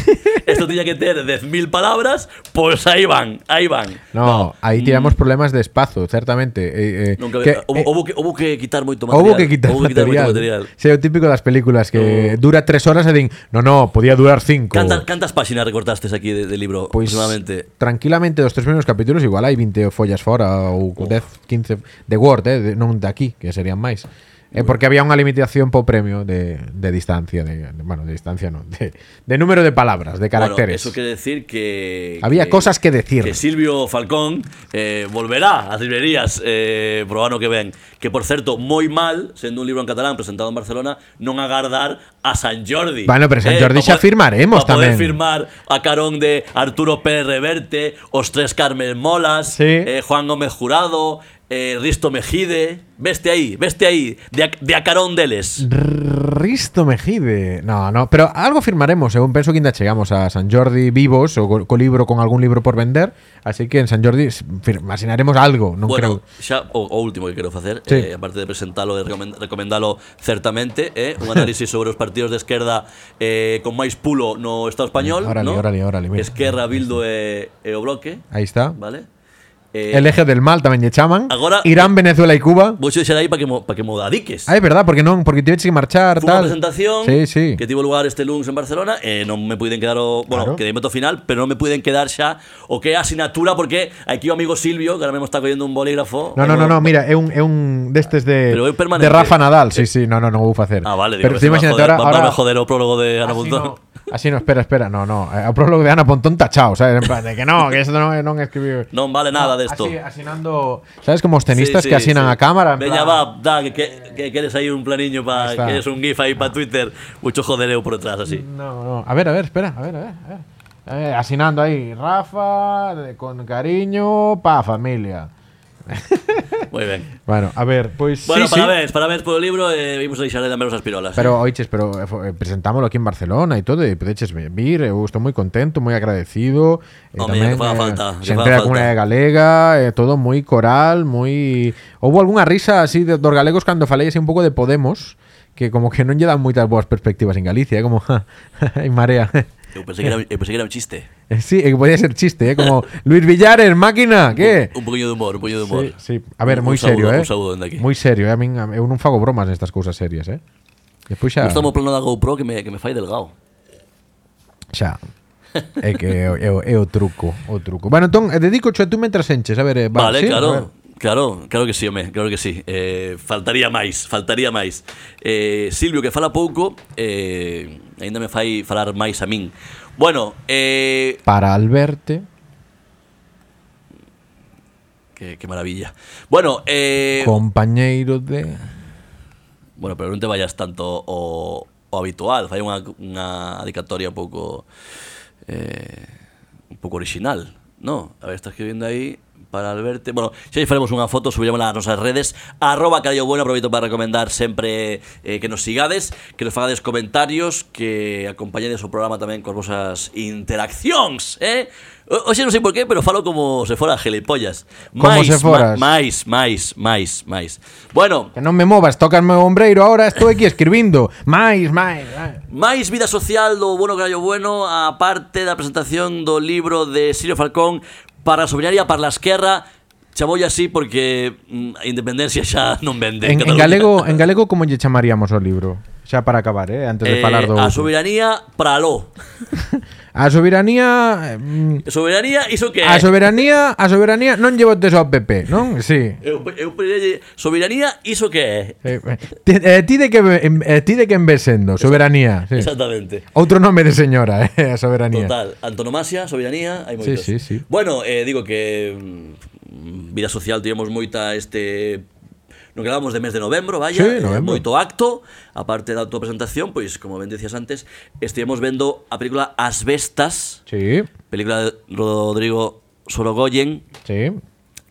Speaker 2: Esto tiña que ter 10.000 palabras Pois pues aí van, aí van
Speaker 1: no, aí tiramos problemas de espazo, certamente. Eh, eh,
Speaker 2: Mm. Nunca,
Speaker 1: que,
Speaker 2: que, houbo,
Speaker 1: eh,
Speaker 2: houbo que, houbo que quitar moito material
Speaker 1: Houbo que quitar
Speaker 2: houbo que quitar
Speaker 1: material.
Speaker 2: moito material
Speaker 1: Sí, o típico das películas que dura tres horas e din, no, no, podía durar cinco.
Speaker 2: Cantas, cantas páxinas recortastes aquí de, de libro
Speaker 1: Pois,
Speaker 2: aproximadamente?
Speaker 1: tranquilamente dos tres primeiros capítulos igual hai 20 follas fora ou 10, 15 de Word, eh, de, non de aquí, que serían máis. Eh, porque había unha limitación po premio de, de distancia, de, de- bueno, de distancia non, de, de número de palabras, de
Speaker 2: Bueno,
Speaker 1: caracteres.
Speaker 2: eso quiere decir que.
Speaker 1: Había cosas que decir.
Speaker 2: Que Silvio Falcón eh, volverá ás librerías eh, pro ano que ven. Que, por certo, moi mal, sendo un libro en catalán presentado en Barcelona, non agardar a San Jordi. Eh,
Speaker 1: Bueno, pero San Jordi xa
Speaker 2: pa
Speaker 1: firmaremos
Speaker 2: pa poder
Speaker 1: tamén.
Speaker 2: firmar a carón de Arturo Pérez Reverte, os tres Carmen Molas,
Speaker 1: Sí.
Speaker 2: eh, Juan Gómez Jurado, eh, Risto Mejide. Veste aí, veste aí, de a, de a carón deles.
Speaker 1: Risto Mejide. No, no, pero algo firmaremos, según penso que ainda chegamos a San Jordi vivos ou co, co libro con algún libro por vender, así que en San Jordi s- firmasinaremos algo, non
Speaker 2: Bueno,
Speaker 1: creo.
Speaker 2: xa o, o último que quero facer,
Speaker 1: Sí.
Speaker 2: eh, aparte de presentalo e recomen- recomendalo certamente, é eh, un análisis sobre os partidos de esquerda eh, con máis pulo no Estado español,
Speaker 1: Órale,
Speaker 2: no?
Speaker 1: órale, órale, mira.
Speaker 2: Esquerra, Bildo e, e o Bloque,
Speaker 1: Aí está.
Speaker 2: vale? Eh,
Speaker 1: El eje del mal tamén lle chaman.
Speaker 2: Agora-
Speaker 1: Irán, Venezuela e Cuba.
Speaker 2: Vou xo deixar aí para que, mo, pa que mo dadiques.
Speaker 1: Ah, é verdad, porque non, porque tiveste que marchar,
Speaker 2: Fue una
Speaker 1: tal.
Speaker 2: presentación
Speaker 1: Sí, sí.
Speaker 2: que tuvo lugar este lunes en Barcelona. eh, no me pueden quedar, o,
Speaker 1: Claro.
Speaker 2: bueno, quedé en final, pero no me pueden quedar ya. O que asignatura, porque aquí o amigo Silvio, que ahora mismo está cogiendo un bolígrafo.
Speaker 1: No,
Speaker 2: eh,
Speaker 1: no, no,
Speaker 2: bueno,
Speaker 1: no, mira, é un é un destes de
Speaker 2: Pero é
Speaker 1: de
Speaker 2: permanente.
Speaker 1: Rafa Nadal. Sí, sí, no, no, non vou facer.
Speaker 2: Ah, vale, digo,
Speaker 1: Pero tú
Speaker 2: que se va a
Speaker 1: imagínate
Speaker 2: joder-
Speaker 1: ahora,
Speaker 2: va- va
Speaker 1: ahora
Speaker 2: a joder o prólogo de
Speaker 1: Así
Speaker 2: Ana Pontón.
Speaker 1: no, así no, espera, espera, no, no. eh, O prólogo de Ana Pontón tachao, sabes? En plan de que no, que eso non, non escribiu.
Speaker 2: Non vale nada de esto.
Speaker 1: Así, asinando, sabes como os
Speaker 2: Sí,
Speaker 1: tenistas
Speaker 2: sí,
Speaker 1: que asinan
Speaker 2: sí.
Speaker 1: a cámara, en
Speaker 2: Veña,
Speaker 1: plan,
Speaker 2: va, da, que, que, que quieres ahí un planiño
Speaker 1: Ahí
Speaker 2: para
Speaker 1: está. Ah.
Speaker 2: que es un gif ahí para Twitter. Mucho jodereo por detrás, así.
Speaker 1: No, no. A ver, a ver, espera, a ver, a ver, a ver. A ver, asinando ahí, Rafa, de- con cariño, pa familia.
Speaker 2: Muy bien.
Speaker 1: Bueno, a ver, pues
Speaker 2: Bueno,
Speaker 1: sí,
Speaker 2: para
Speaker 1: sí.
Speaker 2: ver, para ver por el libro, eh, vimos a deixarle tamén as pirolas.
Speaker 1: Pero, oiches, pero eh, fo- eh, presentámoslo aquí en Barcelona y todo, y pues, podeches vir, eu estou moi contento, moi agradecido. E
Speaker 2: Home, que faga falta, que
Speaker 1: xente
Speaker 2: faga
Speaker 1: da
Speaker 2: falta.
Speaker 1: comunidade galega, eh, todo moi coral, moi... Houve algunha risa así de, dos galegos cando falei así un pouco de Podemos, que como que non lle dan moitas boas perspectivas en Galicia, eh, como [laughs] ja, en marea. [laughs]
Speaker 2: Eu pensei que era, eu pensei que era un chiste.
Speaker 1: Eh, sí, eh, que podía ser chiste, eh,
Speaker 2: [laughs]
Speaker 1: como Luis Villares, máquina, que?
Speaker 2: Un poquillo de humor, un poquillo de humor.
Speaker 1: Sí, sí. A ver,
Speaker 2: Un-
Speaker 1: moi
Speaker 2: un saúdo,
Speaker 1: serio, eh.
Speaker 2: un saúdo dende aquí.
Speaker 1: Moi serio, eh? a min a- eu non fago bromas nestas cousas serias, eh. Despois xa...
Speaker 2: Gusta o plano da GoPro que me, que me fai delgado.
Speaker 1: Xa. É que é, o- é, o- é o truco, o truco. Bueno, entón, eh, dedico a tú mentras enches, a ver, eh, va,
Speaker 2: Vale,
Speaker 1: sí, a ver.
Speaker 2: claro. Claro, claro que sí, home, claro que sí. Eh, faltaría máis, faltaría máis. Eh, Silvio, que fala pouco, eh, ainda me fai falar máis a min. Bueno, eh,
Speaker 1: Para Alberte,
Speaker 2: que, que maravilla. Bueno, eh,
Speaker 1: compañeiro de...
Speaker 2: bueno, pero non te vayas tanto o, o habitual, fai unha, unha adicatoria un pouco eh, un pouco original, ¿no? A ver, está escribiendo aí para Alberto. Bueno, se faremos unha foto, subiremos nas nosas redes. Arroba Carallo Bueno, aproveito para recomendar sempre eh, que nos sigades, que nos fagades comentarios, que acompañades o programa tamén coas vosas interaccións, eh? O- Oxe, non sei por qué, pero falo como se fora gelipollas.
Speaker 1: Como
Speaker 2: Mais,
Speaker 1: se foras.
Speaker 2: ma- Mais, mais, mais, mais. Bueno,
Speaker 1: Que non me movas, tocarme o ombreiro ahora, estou aquí escribindo. Mais, mais, mais.
Speaker 2: Máis vida social do Bueno Carallo Bueno A parte da presentación do libro de Sirio Falcón Para a soberaria, para a esquerra Chamolle así porque mm, a independencia xa non vende
Speaker 1: En, en
Speaker 2: Cataluña.
Speaker 1: galego, en galego como lle chamaríamos o libro? Xa para acabar, eh, antes de
Speaker 2: Eh,
Speaker 1: falar do
Speaker 2: A
Speaker 1: outro.
Speaker 2: soberanía para lo
Speaker 1: A soberanía, eh, mm,
Speaker 2: Soberanía, iso que
Speaker 1: a
Speaker 2: é?
Speaker 1: soberanía, a soberanía non lle botes ao PP, non? Sí.
Speaker 2: Eu, eu pediría soberanía, iso que é?
Speaker 1: Eh, ti, eh, ti de que ve- em, eh, ti de que en ves sendo, soberanía, sí.
Speaker 2: Exactamente
Speaker 1: Outro nome de señora, [laughs] eh, a soberanía.
Speaker 2: Total, antonomasia, soberanía, hai
Speaker 1: Sí,
Speaker 2: moitos.
Speaker 1: sí, sí.
Speaker 2: Bueno, eh, digo que mm, vida social tivemos moita este No que hablamos de mes de novembro, vaya,
Speaker 1: Sí,
Speaker 2: eh,
Speaker 1: novembro.
Speaker 2: moito acto, aparte da autopresentación, pois como ben decías antes, estivemos vendo a película As Vestas,
Speaker 1: Sí.
Speaker 2: película de Rodrigo Sorogoyen,
Speaker 1: Sí.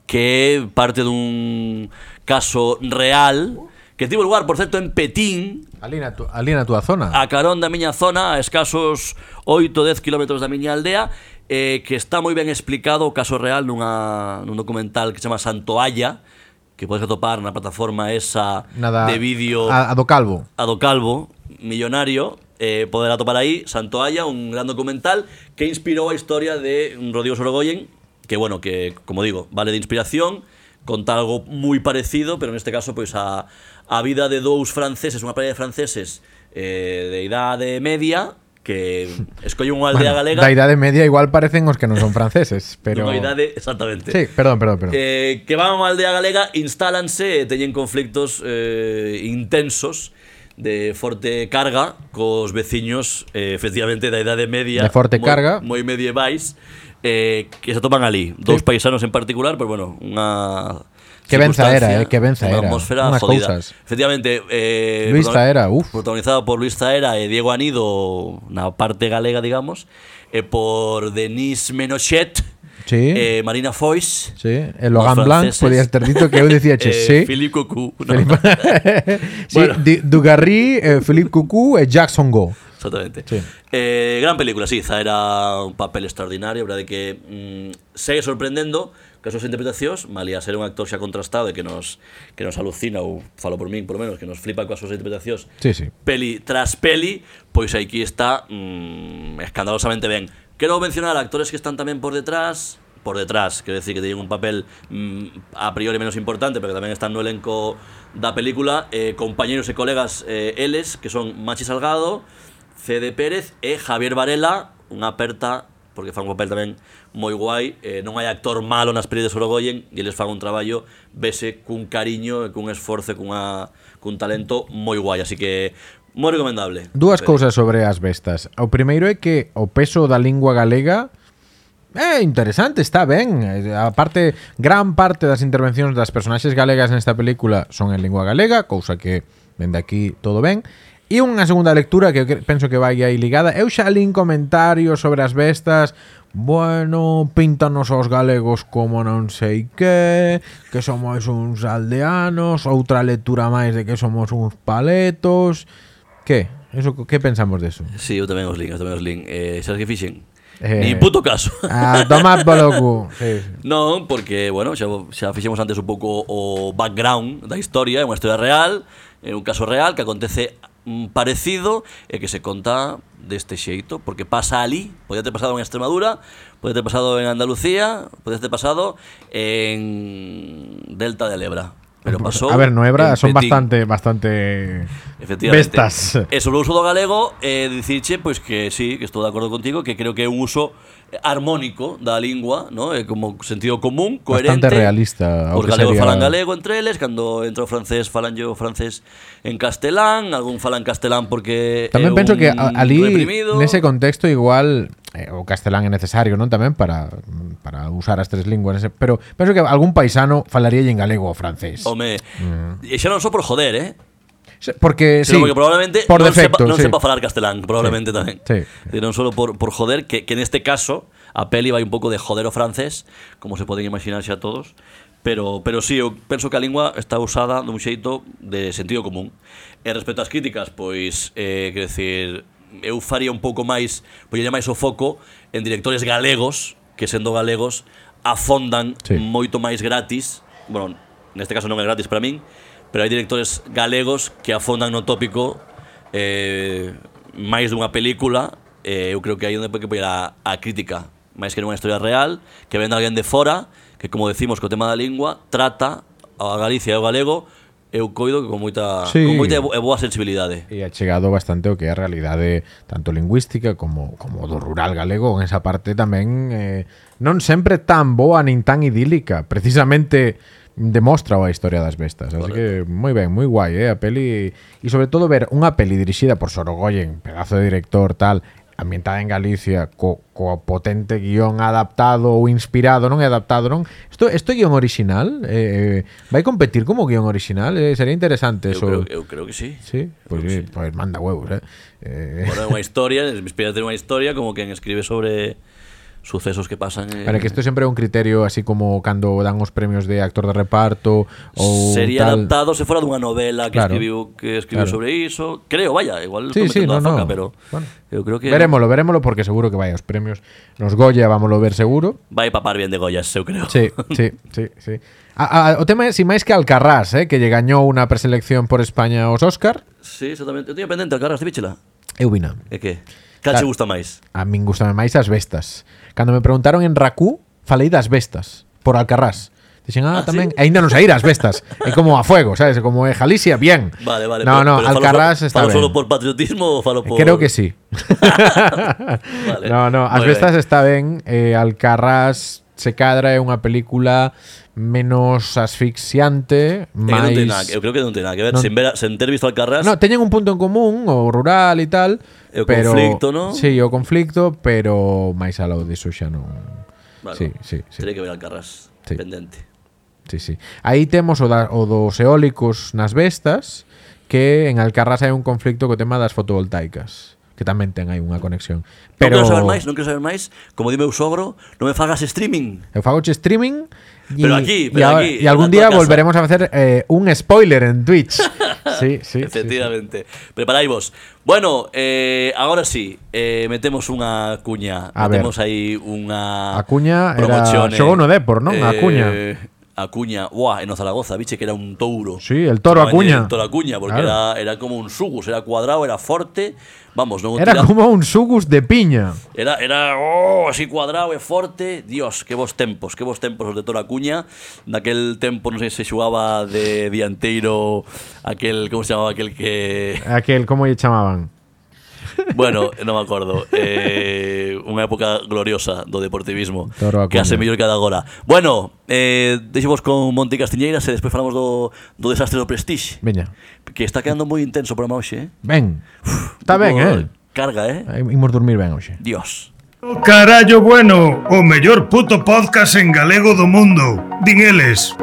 Speaker 2: que parte dun caso real que tivo lugar, por certo, en Petín,
Speaker 1: Alina, tu, alina túa zona.
Speaker 2: a carón da miña zona, a escasos 8 10 km da miña aldea, eh, que está moi ben explicado o caso real nunha, nun documental que se chama Santoalla, que podes atopar na plataforma esa
Speaker 1: Nada.
Speaker 2: de vídeo a,
Speaker 1: a, a do calvo.
Speaker 2: do Calvo, millonario, eh, poder atopar aí Santoalla, un gran documental que inspirou a historia de Rodrigo Sorogoyen, que bueno, que como digo, vale de inspiración, contar algo moi parecido, pero neste caso pois a, a vida de dous franceses, unha parella de franceses eh, de idade media, que escolle unha aldea galega
Speaker 1: Da idade media igual parecen os que non son
Speaker 2: [laughs]
Speaker 1: franceses, pero
Speaker 2: dunha idade exactamente.
Speaker 1: Sí, perdón, perdón, perdón.
Speaker 2: Eh, que van a unha aldea galega, instálanse e teñen conflictos eh, intensos de forte carga cos veciños eh, efectivamente da Idade Media
Speaker 1: De forte
Speaker 2: moi-
Speaker 1: carga.
Speaker 2: moi medievais eh, que se topan ali dous paisanos en particular pero bueno unha
Speaker 1: Que benza
Speaker 2: circunstancia,
Speaker 1: era, eh, que benza
Speaker 2: unha
Speaker 1: era.
Speaker 2: atmósfera
Speaker 1: Unhas
Speaker 2: jodida
Speaker 1: cousas.
Speaker 2: efectivamente eh,
Speaker 1: Luis
Speaker 2: protagoni-
Speaker 1: Zaera, uf.
Speaker 2: protagonizado por Luis Zaera e Diego Anido na parte galega digamos e por Denis Menochet
Speaker 1: Sí.
Speaker 2: eh, Marina Foix
Speaker 1: Sí, el Logan Blanc podías ter dito que eu
Speaker 2: [laughs]
Speaker 1: dicía che,
Speaker 2: eh,
Speaker 1: sí.
Speaker 2: Philippe Cocu, no,
Speaker 1: [laughs]
Speaker 2: [laughs]
Speaker 1: sí,
Speaker 2: Bueno.
Speaker 1: Di- Dugarry, eh, Philippe Cucú e Jackson Go.
Speaker 2: Exactamente.
Speaker 1: Sí.
Speaker 2: Eh, gran película, sí, era un papel extraordinario, a verdade que mm, segue sorprendendo que as súas interpretacións, malia ser un actor xa contrastado e que nos que nos alucina ou falo por min, por lo menos, que nos flipa coas súas interpretacións.
Speaker 1: Sí, sí.
Speaker 2: Peli tras peli, pois aquí está mm, escandalosamente ben. Quero mencionar actores que están tamén por detrás, por detrás, quero decir que teñen un papel mm, a priori menos importante, pero que tamén están no elenco da película, eh, compañeros e colegas eh, eles, que son Machi Salgado, Cede Pérez e Javier Varela, unha aperta porque fan un papel tamén moi guai, eh, non hai actor malo nas pelis de Sorogoyen e eles fan un traballo vese cun cariño e cun esforzo e cunha, cun talento moi guai, así que moi recomendable.
Speaker 1: Dúas
Speaker 2: Eh,
Speaker 1: cousas sobre as bestas. O primeiro é que o peso da lingua galega É Eh, interesante, está ben. Eh, A parte, gran parte das intervencións das personaxes galegas nesta película son en lingua galega, cousa que dende aquí todo ben. E unha segunda lectura que eu cre- penso que vai aí ligada. Eu xa lín comentarios sobre as bestas. Bueno, píntanos aos galegos como non sei que, que somos uns aldeanos, outra lectura máis de que somos uns paletos. Que? Eso, que pensamos deso?
Speaker 2: Sí, eu tamén os link, eu tamén os link. Eh, sabes que fixen?
Speaker 1: Eh,
Speaker 2: Ni puto caso.
Speaker 1: [laughs] Ah, tomad polo cu. Sí,
Speaker 2: [laughs]
Speaker 1: sí.
Speaker 2: Non, porque, bueno, xa, xa fixemos antes un pouco o background da historia, é unha historia real, é un caso real que acontece mm, parecido e que se conta deste xeito, porque pasa ali, podía ter pasado en Extremadura, podía ter pasado en Andalucía, podía ter pasado en Delta del Ebra. Pero pasou
Speaker 1: a ver, no hebra
Speaker 2: en
Speaker 1: son
Speaker 2: Petín.
Speaker 1: bastante bastante
Speaker 2: Efectivamente.
Speaker 1: bestas.
Speaker 2: E sobre o uso do galego, eh, dicirche pois que sí, que estou de acordo contigo, que creo que é un uso armónico da lingua, ¿no? Eh, como sentido común, coherente.
Speaker 1: Bastante realista, ao
Speaker 2: Os
Speaker 1: que
Speaker 2: galegos
Speaker 1: sería-
Speaker 2: falan galego entre eles, cando entra o francés falan yo francés en castelán, algún falan castelán porque
Speaker 1: Tamén
Speaker 2: é
Speaker 1: penso
Speaker 2: eh, un
Speaker 1: que a- ali
Speaker 2: reprimido.
Speaker 1: nese contexto igual eh, o castelán é necesario, non tamén para para usar as tres linguas, ese- pero penso que algún paisano falaría en galego ou francés.
Speaker 2: Home,
Speaker 1: Mm.
Speaker 2: e xa non só por joder, eh?
Speaker 1: Se- Porque Eh, sí,
Speaker 2: Sino porque probablemente
Speaker 1: por
Speaker 2: non,
Speaker 1: defecto,
Speaker 2: sepa, non
Speaker 1: sí.
Speaker 2: sepa falar castelán, probablemente tamén.
Speaker 1: Sí.
Speaker 2: E Non solo por, por joder, que, que neste caso a peli vai un pouco de jodero francés, como se poden imaginarse a todos. Pero, pero sí, eu penso que a lingua está usada dun xeito de sentido común. E respecto ás críticas, pois, eh, quero decir, eu faría un pouco máis, poñería máis o foco en directores galegos, que sendo galegos afondan
Speaker 1: Sí.
Speaker 2: moito máis gratis, bueno, neste caso non é gratis para min, pero hai directores galegos que afondan no tópico eh, máis dunha película, eh, eu creo que aí é onde que poñer a, a crítica, máis que nunha historia real, que venda alguén de fora, que como decimos co tema da lingua, trata a Galicia e o galego, eu coido que con moita,
Speaker 1: Sí.
Speaker 2: con moita e bo- e boa sensibilidade.
Speaker 1: E ha chegado bastante o que é a realidade tanto lingüística como como do rural galego en esa parte tamén eh, non sempre tan boa nin tan idílica precisamente demostra a historia das bestas así que moi ben, moi guai eh, a peli e sobre todo ver unha peli dirixida por Sorogoyen pedazo de director tal ambientada en Galicia co, co potente guión adaptado ou inspirado non é adaptado non isto, isto é guión original eh, eh, vai competir como guión original eh, sería interesante
Speaker 2: Eu
Speaker 1: eso
Speaker 2: creo, eu creo que sí.
Speaker 1: Sí, pues, sí, pues manda huevos, ¿eh? Eh, [laughs]
Speaker 2: Bueno, é unha historia, inspírate nunha historia como quen escribe sobre sucesos que pasan en...
Speaker 1: para que esto siempre é un criterio así como cando dan os premios de actor de reparto ou
Speaker 2: Sería
Speaker 1: tal.
Speaker 2: adaptado se fora dunha novela que
Speaker 1: Claro.
Speaker 2: escribiu que escribiu
Speaker 1: Claro.
Speaker 2: sobre iso. Creo, vaya, igual
Speaker 1: Sí,
Speaker 2: estou
Speaker 1: sí,
Speaker 2: metendo
Speaker 1: no,
Speaker 2: a
Speaker 1: no.
Speaker 2: foca, pero
Speaker 1: Bueno.
Speaker 2: eu creo que
Speaker 1: Verémolo, verémolo porque seguro que vai aos premios. Nos Goya vámoslo ver seguro.
Speaker 2: vai papar bien de Goyas, eu creo.
Speaker 1: Sí, [laughs] sí, sí, sí. A, a, o tema é si máis que Alcarrás, eh, que lle gañou unha preselección por España aos Óscar,
Speaker 2: sí exactamente. Eu teño pendente Alcaraz de Bichela.
Speaker 1: eu vina.
Speaker 2: É que cal che
Speaker 1: Claro.
Speaker 2: gusta máis?
Speaker 1: A min gustame máis as bestas. Cando me preguntaron en Racú, falei das bestas por Alcarrás. Dixen, ah,
Speaker 2: Ah,
Speaker 1: tamén,
Speaker 2: sí?
Speaker 1: e ainda non saír as bestas. É como a fuego, sabes? É Como é Galicia, bien.
Speaker 2: Vale, vale.
Speaker 1: No,
Speaker 2: pero-
Speaker 1: no,
Speaker 2: pero falo
Speaker 1: Alcarrás
Speaker 2: solo-
Speaker 1: está
Speaker 2: falo
Speaker 1: ben. Eh,
Speaker 2: solo por patriotismo ou falo por
Speaker 1: Creo que sí.
Speaker 2: [laughs]
Speaker 1: [laughs]
Speaker 2: Vale.
Speaker 1: No, no, as
Speaker 2: Moi
Speaker 1: bestas
Speaker 2: ben.
Speaker 1: está ben, eh, Alcarrás se cadra é unha película menos asfixiante,
Speaker 2: É que non ten nada,
Speaker 1: máis
Speaker 2: eu creo que non ten nada que ver.
Speaker 1: Non-
Speaker 2: Sen, ver, a- sen ter visto Alcaraz,
Speaker 1: No, teñen un punto en común, o rural e tal,
Speaker 2: E o
Speaker 1: pero
Speaker 2: conflicto, ¿no?
Speaker 1: Sí, o conflicto, pero máis alao diso xa non. Sí, sí, sí.
Speaker 2: Terei que ver Alcaraz,
Speaker 1: Sí.
Speaker 2: pendente.
Speaker 1: Sí, sí. Aí temos o, da, o dos eólicos nas bestas, que en Alcarrás hai un conflicto co tema das fotovoltaicas, que tamén ten aí unha conexión. Pero
Speaker 2: Non quero saber máis, non quero saber máis. Como di meu sogro, non me fagas streaming.
Speaker 1: Eu fago che streaming y,
Speaker 2: Pero aquí, pero
Speaker 1: y a-
Speaker 2: aquí,
Speaker 1: y algún
Speaker 2: en
Speaker 1: día
Speaker 2: la tua casa.
Speaker 1: volveremos a hacer eh, un spoiler en
Speaker 2: [laughs]
Speaker 1: Twitch. Sí, sí.
Speaker 2: Efectivamente. Preparaivos. Bueno, eh, agora sí, eh, metemos unha cuña.
Speaker 1: A ver.
Speaker 2: metemos aí unha
Speaker 1: A cuña era-
Speaker 2: promoción, eh.
Speaker 1: xogou no Depor, non? A cuña.
Speaker 2: A cuña, buah, en Zaragoza, biche que era un touro.
Speaker 1: Sí, el toro a
Speaker 2: Chamaban
Speaker 1: cuña.
Speaker 2: El toro a cuña, porque
Speaker 1: Claro.
Speaker 2: era, era como un sugus, era cuadrado, era forte. Vamos, non
Speaker 1: Sí, sí.
Speaker 2: o
Speaker 1: Era
Speaker 2: tira-
Speaker 1: como un sugus de piña.
Speaker 2: Era, era oh, así cuadrado e forte Dios, que vos tempos, que vos tempos os de Toro Acuña Naquel tempo non sei se xugaba de dianteiro Aquel, como se chamaba aquel que
Speaker 1: Aquel, como lle chamaban?
Speaker 2: Bueno, non me acordo eh, Unha época gloriosa do deportivismo
Speaker 1: Toro Acuña.
Speaker 2: Que hace mellor que a da agora Bueno, eh, deixemos con Monti Castiñeiras E despois falamos do, do desastre do Prestige
Speaker 1: Veña.
Speaker 2: Que está quedando moi intenso para hoxe eh?
Speaker 1: Ben. Está ben,
Speaker 2: Como
Speaker 1: eh?
Speaker 2: Carga, eh?
Speaker 1: Aí Imos dormir ben hoxe.
Speaker 2: Dios
Speaker 3: O carallo bueno, o mellor puto podcast en galego do mundo. Din eles.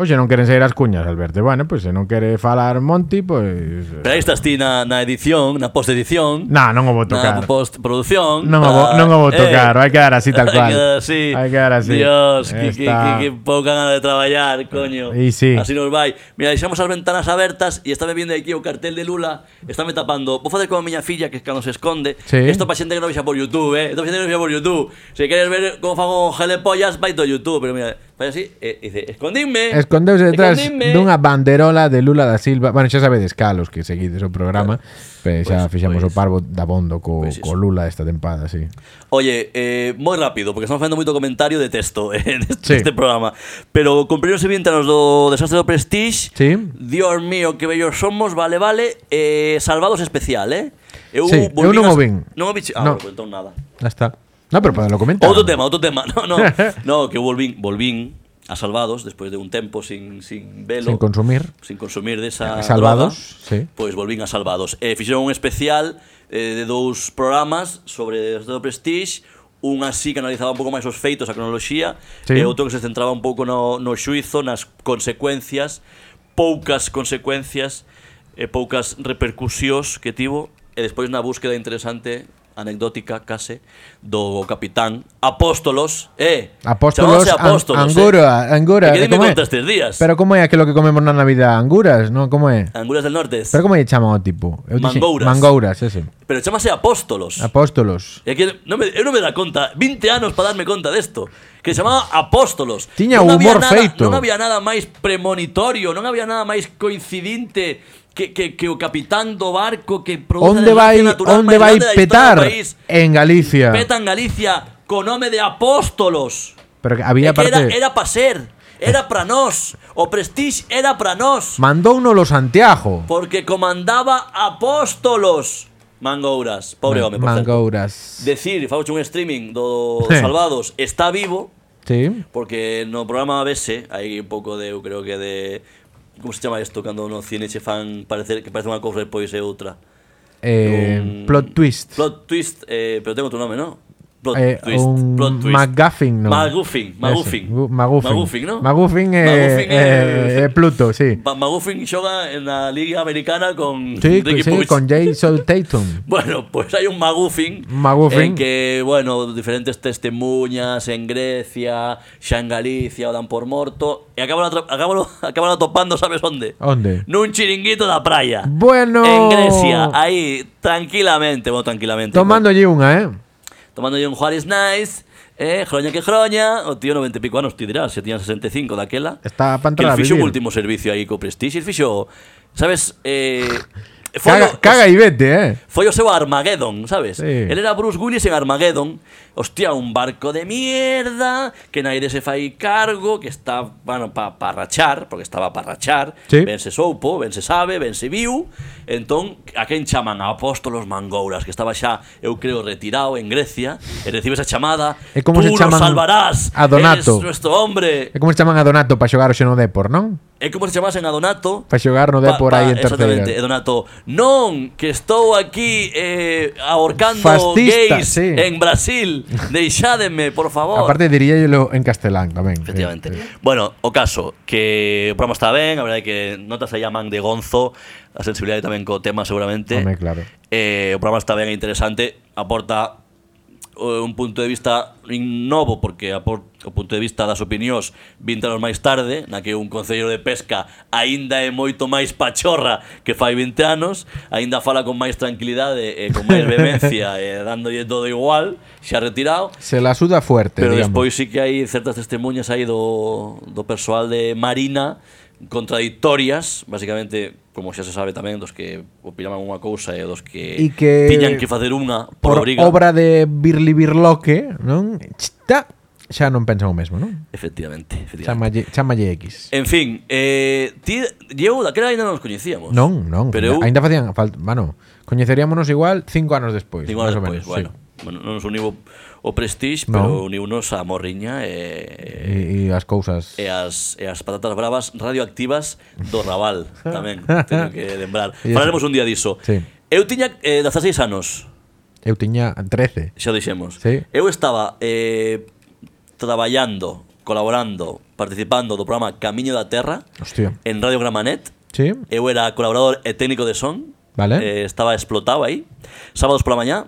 Speaker 1: Hoxe non queren sair as cuñas, Alberto. Bueno, pois se non quere falar Monti, pois...
Speaker 2: Pero aí estás ti na, na edición, na postedición
Speaker 1: Nah, non o vou tocar.
Speaker 2: Na postproducción.
Speaker 1: Non o vou,
Speaker 2: Ah,
Speaker 1: non o vou
Speaker 2: eh,
Speaker 1: tocar, vai quedar
Speaker 2: [laughs]
Speaker 1: así tal
Speaker 2: Hai
Speaker 1: cual.
Speaker 2: que dar así.
Speaker 1: Hai que dar así.
Speaker 2: Dios, que, que,
Speaker 1: Está-
Speaker 2: que, que pouca gana de traballar, coño.
Speaker 1: E sí.
Speaker 2: Así nos vai. Mira, deixamos as ventanas abertas e está me vindo aquí o cartel de Lula, está me tapando. Vou fazer como a miña filla que cando se esconde.
Speaker 1: Sí.
Speaker 2: Isto pa xente que non vexa por YouTube, eh. Isto pa xente que non vexa por YouTube. Se queres ver como fago gelepollas, vai do YouTube, pero mira, fai así e dice, "Escondidme."
Speaker 1: Escondeuse detrás
Speaker 2: escondidme."
Speaker 1: dunha banderola de Lula da Silva Bueno, xa sabedes calos que seguides o programa Pero xa
Speaker 2: Pois,
Speaker 1: fixamos o
Speaker 2: pois.
Speaker 1: parvo da bondo co,
Speaker 2: Pois
Speaker 1: co
Speaker 2: iso.
Speaker 1: Lula esta tempada, sí
Speaker 2: Oye, eh, moi rápido, porque estamos facendo moito comentario de texto [laughs] eh,
Speaker 1: Sí.
Speaker 2: neste sí. programa. Pero cumprironse bien tanos do desastre do Prestige.
Speaker 1: Sí.
Speaker 2: Dios mío, que bellos somos, vale, vale. Eh, salvados especial, eh?
Speaker 1: Sí, eu non o vin.
Speaker 2: Non o vin. Ah,
Speaker 1: No.
Speaker 2: no. pues, entón nada.
Speaker 1: Ya está No, pero podelo comentar
Speaker 2: Outro tema, outro tema. [laughs]
Speaker 1: [laughs]
Speaker 2: No, no, no que eu volvín, volvín a Salvados despois de un tempo sin, sin velo.
Speaker 1: Sin consumir
Speaker 2: sin consumir desa
Speaker 1: Salvados,
Speaker 2: droga,
Speaker 1: sí.
Speaker 2: pois volvín a Salvados. E fixeron un especial eh, de dous programas sobre o do Prestige, un así que analizaba un pouco máis os feitos, a cronoloxía,
Speaker 1: Sí.
Speaker 2: e outro que se centraba un pouco no, no xuizo, nas consecuencias poucas consecuencias e poucas repercusións que tivo e despois na búsqueda interesante anecdótica case do capitán Apóstolos, eh,
Speaker 1: Apóstolos,
Speaker 2: chamábase
Speaker 1: an- angura, angura.
Speaker 2: E eh. que
Speaker 1: que
Speaker 2: dime
Speaker 1: come-
Speaker 2: contas tres días.
Speaker 1: Pero como é aquilo que comemos na Navidad? Anguras, non? Como é?
Speaker 2: Anguras del Norte.
Speaker 1: Pero como lle chama o tipo? Eu dixen-
Speaker 2: Mangouras.
Speaker 1: Mangouras, ese.
Speaker 2: Pero chamase Apóstolos.
Speaker 1: Apóstolos.
Speaker 2: E que no me, eu non me da conta, 20 anos para darme conta desto, que se chamaba Apóstolos.
Speaker 1: Tiña
Speaker 2: non
Speaker 1: humor
Speaker 2: había nada,
Speaker 1: feito.
Speaker 2: Non había nada máis premonitorio, non había nada máis coincidinte que, que, que o capitán do barco que produce
Speaker 1: Onde
Speaker 2: a
Speaker 1: vai,
Speaker 2: desgracia natural
Speaker 1: onde
Speaker 2: máis
Speaker 1: vai
Speaker 2: grande da historia
Speaker 1: petar?
Speaker 2: do país.
Speaker 1: En Galicia.
Speaker 2: Peta en Galicia co nome de Apóstolos.
Speaker 1: Pero que
Speaker 2: E
Speaker 1: había
Speaker 2: que era,
Speaker 1: parte...
Speaker 2: era para ser, era para nós, o Prestige era para nós,
Speaker 1: Mandou uno lo Santiago.
Speaker 2: porque comandaba Apóstolos. Mangouras, pobre home, por certo.
Speaker 1: Mangouras.
Speaker 2: Decir, fauche un streaming do dos Salvados está vivo
Speaker 1: Sí.
Speaker 2: Porque no programa ABC hai un pouco de, eu creo que de Como se chama isto cando no cine che fan parecer que parece unha cousa e pois é outra?
Speaker 1: Eh,
Speaker 2: Un-
Speaker 1: plot twist.
Speaker 2: Plot twist, eh, pero ten outro nome, non? Plot
Speaker 1: Eh,
Speaker 2: twist,
Speaker 1: un
Speaker 2: plot twist.
Speaker 1: MacGuffin, non?
Speaker 2: Maguffin, Maguffin.
Speaker 1: Ese, gu- Maguffin.
Speaker 2: Maguffin, non?
Speaker 1: Maguffin, eh, eh,
Speaker 2: Maguffin, eh,
Speaker 1: eh, Pluto, sí.
Speaker 2: Ma- Maguffin xoga na Liga Americana con
Speaker 1: Sí, pues
Speaker 2: Ricky
Speaker 1: sí,
Speaker 2: Puig.
Speaker 1: con Jason Tatum.
Speaker 2: Bueno, pues hay un maguffin.
Speaker 1: Maguffin.
Speaker 2: En que, bueno, diferentes testemunhas en Grecia, xa en Galicia, o dan por morto. E acaban, atra- acaban, [laughs] acaban atopando, sabes onde?
Speaker 1: Onde?
Speaker 2: Nun chiringuito da praia.
Speaker 1: Bueno.
Speaker 2: En Grecia, aí, tranquilamente, bueno, tranquilamente.
Speaker 1: Tomando allí unha, eh.
Speaker 2: Tomando un Juárez Nice, eh, groña que groña. O tío 90 e pico anos, ti dirás, se tiña 65 daquela.
Speaker 1: Está pa entrar
Speaker 2: Que
Speaker 1: a
Speaker 2: fixo
Speaker 1: vivir.
Speaker 2: o último servicio aí co Prestige, el fixo, sabes, eh, foi
Speaker 1: Caga,
Speaker 2: o-
Speaker 1: caga e vete, eh.
Speaker 2: Foi o seu Armageddon, sabes?
Speaker 1: Sí.
Speaker 2: Él era Bruce Willis en Armageddon. Hostia, un barco de mierda, que naide se fai cargo, que está, bueno, para pa rachar, porque estaba para rachar.
Speaker 1: Sí.
Speaker 2: Ben se soupo, ben se sabe, ben se viu. Entón, a quen chaman? A Apóstolos Mangouras, que estaba xa, eu creo, retirado en Grecia. E recibe esa chamada.
Speaker 1: E como se
Speaker 2: Tú
Speaker 1: chaman
Speaker 2: nos salvarás.
Speaker 1: a Donato?
Speaker 2: Eres nuestro hombre.
Speaker 1: É como se chaman a Donato para xogar o no Depor, non?
Speaker 2: É como se chamasen a Donato.
Speaker 1: Para xogar no
Speaker 2: Pa-
Speaker 1: Depor
Speaker 2: pa-
Speaker 1: aí en terceira.
Speaker 2: Exactamente, e Donato Non, que estou aquí eh, ahorcando
Speaker 1: Fascista,
Speaker 2: gays
Speaker 1: sí.
Speaker 2: en
Speaker 1: [laughs]
Speaker 2: Brasil Deixádeme, por favor
Speaker 1: Aparte diríaelo en castelán tamén. Eh, sí,
Speaker 2: Efectivamente.
Speaker 1: sí.
Speaker 2: Bueno, o caso, que o programa está ben, a verdade é que notas aí a man de gonzo, a sensibilidade tamén co tema seguramente.
Speaker 1: Home, claro.
Speaker 2: Eh, o programa está ben e interesante, aporta eh, un punto de vista novo porque apor- o punto de vista das opinións 20 anos máis tarde, na que un concelleiro de pesca aínda é moito máis pachorra que fai 20 anos, aínda fala con máis tranquilidade e con máis
Speaker 1: [laughs]
Speaker 2: vehemencia e dándolle todo igual, xa retirado,
Speaker 1: Se la suda fuerte,
Speaker 2: Pero
Speaker 1: digamos.
Speaker 2: despois sí que hai certas testemunhas aí do, do persoal de Marina contradictorias, basicamente, como xa se sabe tamén, dos que opinaban unha cousa e dos que,
Speaker 1: E que-
Speaker 2: tiñan que facer unha por,
Speaker 1: por
Speaker 2: obriga.
Speaker 1: obra de Birli Birloque, non? Chita, xa non pensan o mesmo, non?
Speaker 2: Efectivamente,
Speaker 1: Chamalle,
Speaker 2: efectivamente.
Speaker 1: chamalle X.
Speaker 2: En fin, eh, ti, Diego, daquela ainda non nos coñecíamos.
Speaker 1: Non, non.
Speaker 2: pues, Pero eu,
Speaker 1: Ainda facían falta, bueno, coñeceríamonos igual cinco anos despois.
Speaker 2: Cinco anos
Speaker 1: máis ou
Speaker 2: despois,
Speaker 1: menos, sí.
Speaker 2: bueno. bueno. Non nos uniu o Prestige,
Speaker 1: Non.
Speaker 2: pero uniunos a Morriña e,
Speaker 1: E, e as cousas.
Speaker 2: e as, e as patatas bravas radioactivas do Raval tamén, [laughs] teño que
Speaker 1: [laughs]
Speaker 2: lembrar.
Speaker 1: E eso.
Speaker 2: Falaremos un día diso.
Speaker 1: Sí.
Speaker 2: Eu tiña eh, 16 anos,
Speaker 1: Eu tiña 13.
Speaker 2: xa o dixemos.
Speaker 1: Sí.
Speaker 2: Eu estaba eh, traballando, colaborando, participando do programa Camiño da Terra
Speaker 1: Hostia.
Speaker 2: en Radio Gramanet.
Speaker 1: Sí.
Speaker 2: Eu era colaborador e técnico de son.
Speaker 1: Vale.
Speaker 2: Eh, estaba explotado aí. Sábados pola mañá,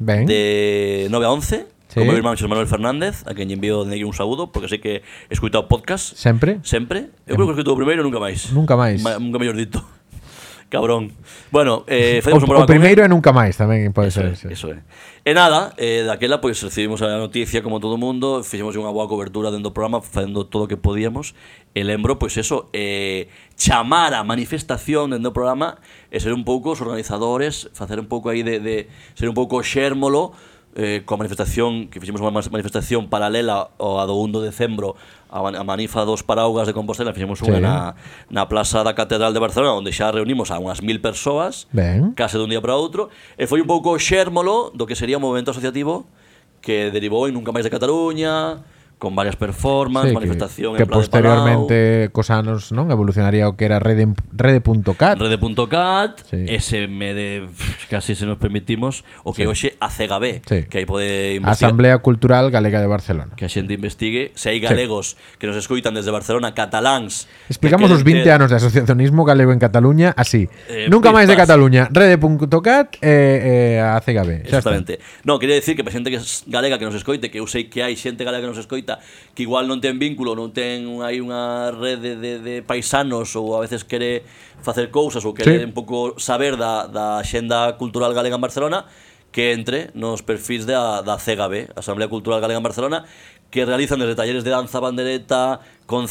Speaker 1: Ben.
Speaker 2: de 9 a 11,
Speaker 1: Sí.
Speaker 2: con meu irmán Xos Manuel Fernández, a quen lle envío dende aquí un saúdo, porque sei que escuita o podcast.
Speaker 1: Sempre.
Speaker 2: Sempre? Eu creo que escrito o primeiro nunca máis.
Speaker 1: Em- Nunca máis.
Speaker 2: Ma- nunca mellor dito. [laughs] Cabrón. Bueno,
Speaker 1: O,
Speaker 2: eh, facemos un
Speaker 1: o
Speaker 2: programa
Speaker 1: primeiro e nunca máis tamén pode
Speaker 2: Eso
Speaker 1: ser.
Speaker 2: é,
Speaker 1: sí.
Speaker 2: eso é. E nada, eh, daquela pois recibimos a noticia como todo mundo, fixemos unha boa cobertura dentro do programa, facendo todo o que podíamos. E lembro, pois eso, eh, chamar a manifestación dentro do programa e ser un pouco os organizadores, facer un pouco aí de, de ser un pouco o xérmolo eh, coa manifestación, que fixemos unha mas- manifestación paralela ao a do 1 de decembro a, man- a Manifa dos Paraugas de Compostela, fixemos
Speaker 1: Sí.
Speaker 2: unha na, na plaza da Catedral de Barcelona, onde xa reunimos a unhas mil persoas,
Speaker 1: Ben.
Speaker 2: case dun día para outro, e foi un pouco o xérmolo do que sería o movimento asociativo que derivou en Nunca Máis de Cataluña, con varias
Speaker 1: Sí,
Speaker 2: performances,
Speaker 1: que-
Speaker 2: manifestación
Speaker 1: que
Speaker 2: en plan de
Speaker 1: posteriormente Cosanos non evolucionaría o que era Rede Rede.cat.
Speaker 2: Palau, Rede.cat,
Speaker 1: Sí.
Speaker 2: SMD, casi se nos permitimos, o que hoxe ACGB,
Speaker 1: Sí.
Speaker 2: que aí pode investigar.
Speaker 1: Asamblea Cultural Galega de Barcelona.
Speaker 2: que a xente investigue se hai galegos que nos escoitan desde Barcelona, cataláns.
Speaker 1: Explicamos os 20 anos de asociacionismo galego en Cataluña así.
Speaker 2: Eh,
Speaker 1: Nunca máis de
Speaker 2: pistas.
Speaker 1: Cataluña, rede.cat e eh, eh, a CKB. Xa está.
Speaker 2: Exactamente. No, quería decir que para xente que es galega que nos escoite, que eu sei que hai xente galega que nos escoita, que igual non ten vínculo, non ten hai unha rede de, de paisanos ou a veces quere facer cousas ou
Speaker 1: Sí.
Speaker 2: quere un pouco saber da, da xenda cultural galega en Barcelona, que entre nos perfis da, da CGB, Asamblea Cultural Galega en Barcelona, que realizan desde talleres de danza, bandereta,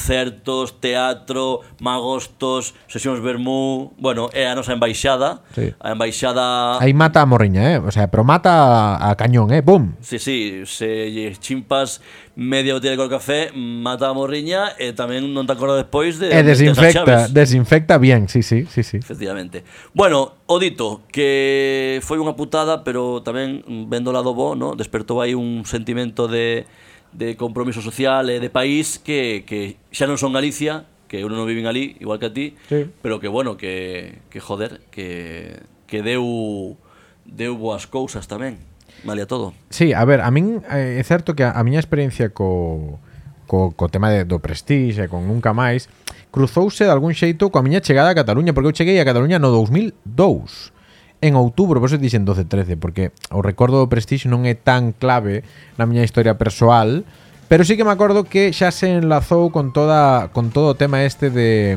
Speaker 2: concertos, teatro, magostos, sesións vermú... Bueno, é a nosa embaixada,
Speaker 1: Sí.
Speaker 2: a embaixada...
Speaker 1: Aí mata a morriña, eh? O sea, pero mata a, a cañón, eh? Bum.
Speaker 2: Sí, sí, se lle chimpas media botella de col café, mata a morriña e tamén non te acordas despois
Speaker 1: E
Speaker 2: de...
Speaker 1: Eh,
Speaker 2: onde tes as
Speaker 1: desinfecta,
Speaker 2: chaves.
Speaker 1: desinfecta bien, sí, sí, sí, sí.
Speaker 2: Efectivamente. Bueno, o dito, que foi unha putada, pero tamén mm, vendo o lado bo, ¿no? despertou aí un sentimento de, de compromiso social e de país que, que xa non son Galicia, que uno non viven ali, igual que a ti,
Speaker 1: Sí.
Speaker 2: pero que, bueno, que, que joder, que, que deu, deu boas cousas tamén, vale a todo.
Speaker 1: Sí, a ver, a min eh, é certo que a, a miña experiencia co, co, co tema de, do Prestige e con Nunca Máis cruzouse de algún xeito coa miña chegada a Cataluña, porque eu cheguei a Cataluña no 2002 en outubro, por eso dixen 12-13 porque o recordo do Prestige non é tan clave na miña historia persoal pero sí que me acordo que xa se enlazou con toda con todo o tema este de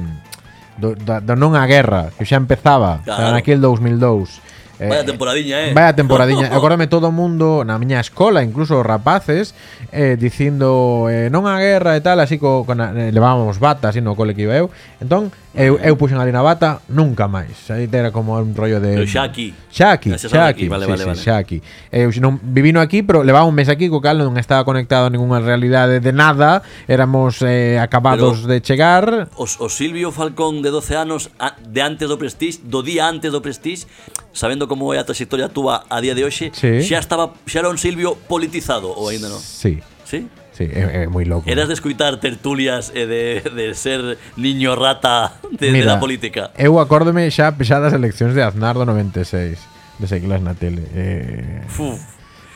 Speaker 1: do, da, da non a guerra que xa empezaba claro.
Speaker 2: Claro.
Speaker 1: naquel 2002 Eh,
Speaker 2: Vaya temporadiña, eh.
Speaker 1: Vaya temporadiña.
Speaker 2: [laughs]
Speaker 1: Acórdame todo o mundo na miña escola, incluso os rapaces, eh, dicindo eh, non a guerra e tal, así co, con a, eh, levábamos bata, así no cole que iba eu. Entón, eu, eu puxen ali na bata, nunca máis. Aí era como un rollo de...
Speaker 2: Pero xa aquí.
Speaker 1: Xa aquí,
Speaker 2: Ah,
Speaker 1: xa
Speaker 2: xa estaba
Speaker 1: aquí,
Speaker 2: aquí, vale,
Speaker 1: sí,
Speaker 2: vale,
Speaker 1: sí,
Speaker 2: vale.
Speaker 1: xa aquí. Eh, Eu xa non vivino aquí, pero levaba un mes aquí, co cal non estaba conectado a ninguna realidade de nada, éramos eh, acabados de chegar,
Speaker 2: Os, o Silvio Falcón de 12 anos a- de antes do Prestige, do día antes do Prestige, sabendo como é a trayectoria túa a día de hoxe,
Speaker 1: Sí.
Speaker 2: xa estaba xa era un Silvio politizado ou aínda non?
Speaker 1: Sí,
Speaker 2: Sí?
Speaker 1: sí, é, é moi loco.
Speaker 2: Eras de escuitar tertulias e de, de ser niño rata de, de
Speaker 1: Mira,
Speaker 2: la política.
Speaker 1: Eu acórdome xa, xa das eleccións de Aznar do 96 De seguilas na tele eh,
Speaker 2: Uf,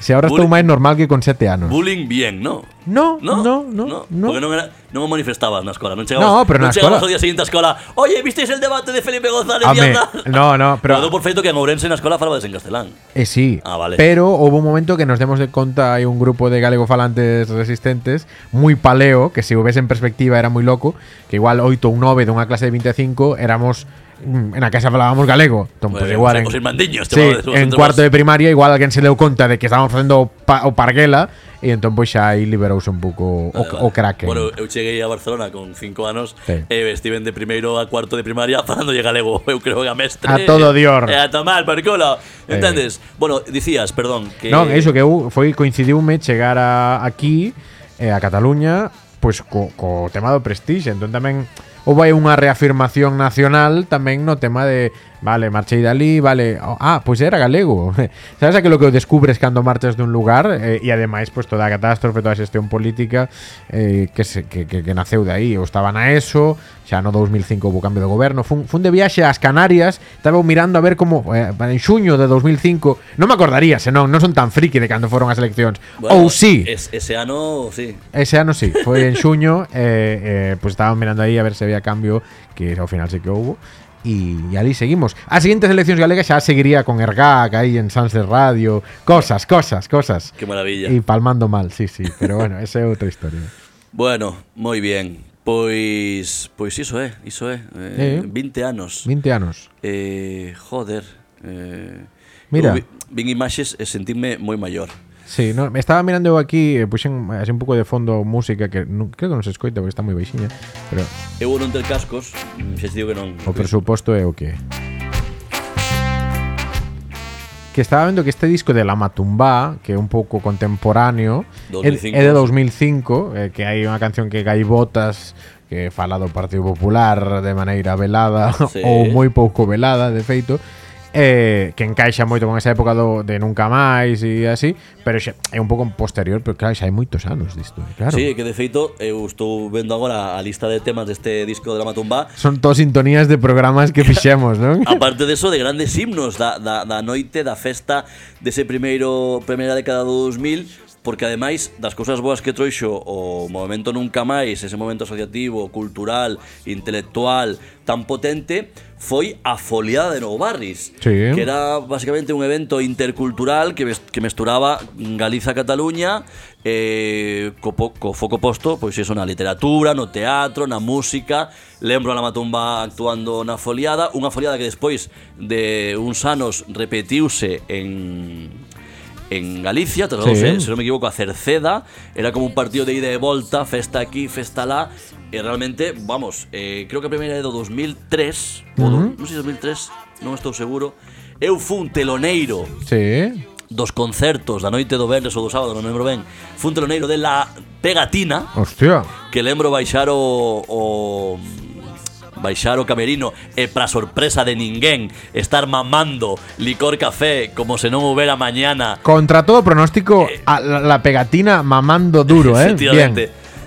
Speaker 1: Se ahora
Speaker 2: Bullying-
Speaker 1: estou máis normal que con 7 anos
Speaker 2: bullying bien, ¿no?
Speaker 1: No,
Speaker 2: No,
Speaker 1: no, no, no.
Speaker 2: Porque non, era, non me manifestabas na escola, non chegabas,
Speaker 1: No, pero
Speaker 2: non
Speaker 1: na escola-
Speaker 2: chegabas ao día seguinte á escola. Oye, visteis el debate de Felipe González
Speaker 1: Home,
Speaker 2: y Aznar?"
Speaker 1: Ah, no,
Speaker 2: [laughs]
Speaker 1: no, pero-
Speaker 2: Eu dou por feito que en Ourense na escola falabades en castelán.
Speaker 1: Eh, sí,
Speaker 2: Ah, vale.
Speaker 1: pero hubo un momento que nos demos de conta hay un grupo de galegofalantes resistentes muy paleo, que si o ves en perspectiva era muy loco, que igual 8 ou 9 de una clase de 25 éramos mm, en la casa falábamos galego. Entón,
Speaker 2: Bueno,
Speaker 1: pues, igual
Speaker 2: os-
Speaker 1: en,
Speaker 2: os irmandiños, te
Speaker 1: Sí,
Speaker 2: vamos- vamos
Speaker 1: en
Speaker 2: entre
Speaker 1: cuarto
Speaker 2: vos.
Speaker 1: de primaria igual alguén se deu conta de que estábamos facendo o, pa- o parguela e entón pois xa aí liberouse un pouco o,
Speaker 2: Vale, vale.
Speaker 1: o craque.
Speaker 2: Ah, Bueno, eh, eu cheguei a Barcelona con 5 anos
Speaker 1: Sí.
Speaker 2: e estiven de primeiro a cuarto de primaria [laughs] falándolle galego, eu creo que a mestre.
Speaker 1: A todo dior.
Speaker 2: E a tomar por culo. Entendes? Bueno, dicías, perdón, que
Speaker 1: Non, é iso que eu foi coincidiume chegar a, aquí eh, a Cataluña pois co, co tema do Prestige, entón tamén houve aí unha reafirmación nacional tamén no tema de, vale, marchei dali, vale, oh, ah, pois era galego. [laughs] Sabes aquilo que o descubres cando marchas dun lugar eh, e ademais pois toda a catástrofe, toda a xestión política eh, que, se, que, que, que naceu de aí. Eu estaba na ESO, xa no 2005 hubo cambio de goberno, fun, fun de viaxe ás Canarias, estaba eu mirando a ver como eh, en xuño de 2005, non me acordaría, senón, non son tan friki de cando foron as eleccións.
Speaker 2: bueno,
Speaker 1: Ou si,
Speaker 2: Es, ese ano, sí.
Speaker 1: ese ano sí, foi en xuño, [laughs] eh, eh, pois estaban mirando aí a ver se había cambio, que ao final sí que houbo. E, e ali seguimos. As siguientes eleccións galegas xa seguiría con Ergac aí en Sanse Radio, cosas, cosas, cosas.
Speaker 2: Qué maravilla.
Speaker 1: E palmando mal, sí, sí, pero bueno, esa é outra historia.
Speaker 2: Bueno, moi bien. Pues, Pois pois iso é, iso é.
Speaker 1: Eh.
Speaker 2: Eh, 20 anos.
Speaker 1: 20 anos.
Speaker 2: Eh, joder. Eh,
Speaker 1: Mira.
Speaker 2: eu vi- Vin imaxes e sentirme moi maior.
Speaker 1: Sí, no, me estaba mirando eu aquí, eh, puxen así un pouco de fondo música que non, creo que non se escoita porque está moi baixiña, pero
Speaker 2: Eu non ter cascos, mm, xa te digo que non.
Speaker 1: o presuposto é o que é. Que estaba vendo que este disco de La Matumbá, que é un pouco contemporáneo, é-
Speaker 2: 2005,
Speaker 1: é de
Speaker 2: sí.
Speaker 1: 2005, eh, que hai unha canción que Gaibotas que fala do Partido Popular de maneira velada
Speaker 2: [laughs] Sí.
Speaker 1: ou moi pouco velada, de feito, eh, que encaixa moito con esa época do, de Nunca Máis e así Pero xa, é un pouco posterior, pero claro, xa hai moitos anos disto eh, claro.
Speaker 2: Sí, que de feito eu estou vendo agora a lista de temas deste disco de Drama Tumba
Speaker 1: Son todos sintonías de programas que fixemos, non?
Speaker 2: [laughs] Aparte de eso, de grandes himnos da, da, da noite, da festa dese primeiro primeira década do 2000 Porque ademais das cousas boas que troixo o movimento nunca máis, ese movimento asociativo, cultural, intelectual tan potente, foi a foliada de Nou Barris,
Speaker 1: Sí.
Speaker 2: que era basicamente un evento intercultural que, mes- que mesturaba Galiza-Cataluña eh, co, po- co foco posto pues pois iso na literatura, no teatro, na música lembro a la Matumba actuando na foliada, unha foliada que despois de uns anos repetiuse en en Galicia, trasladouse,
Speaker 1: Sí.
Speaker 2: se non me equivoco, a Cerceda, era como un partido de ida e volta, festa aquí, festa lá, e realmente, vamos, eh, creo que a primeira é do 2003, ou do, non sei se 2003, non estou seguro, eu fun teloneiro
Speaker 1: Sí,
Speaker 2: dos concertos da noite do Viernes ou do sábado, non lembro ben, fun teloneiro de la pegatina,
Speaker 1: hostia
Speaker 2: que lembro baixar o, o baixar o camerino e pra sorpresa de ninguén estar mamando licor café como se non houbera mañana
Speaker 1: Contra todo pronóstico, a la, la pegatina mamando duro, eh Bien
Speaker 2: Eh, Efectivamente.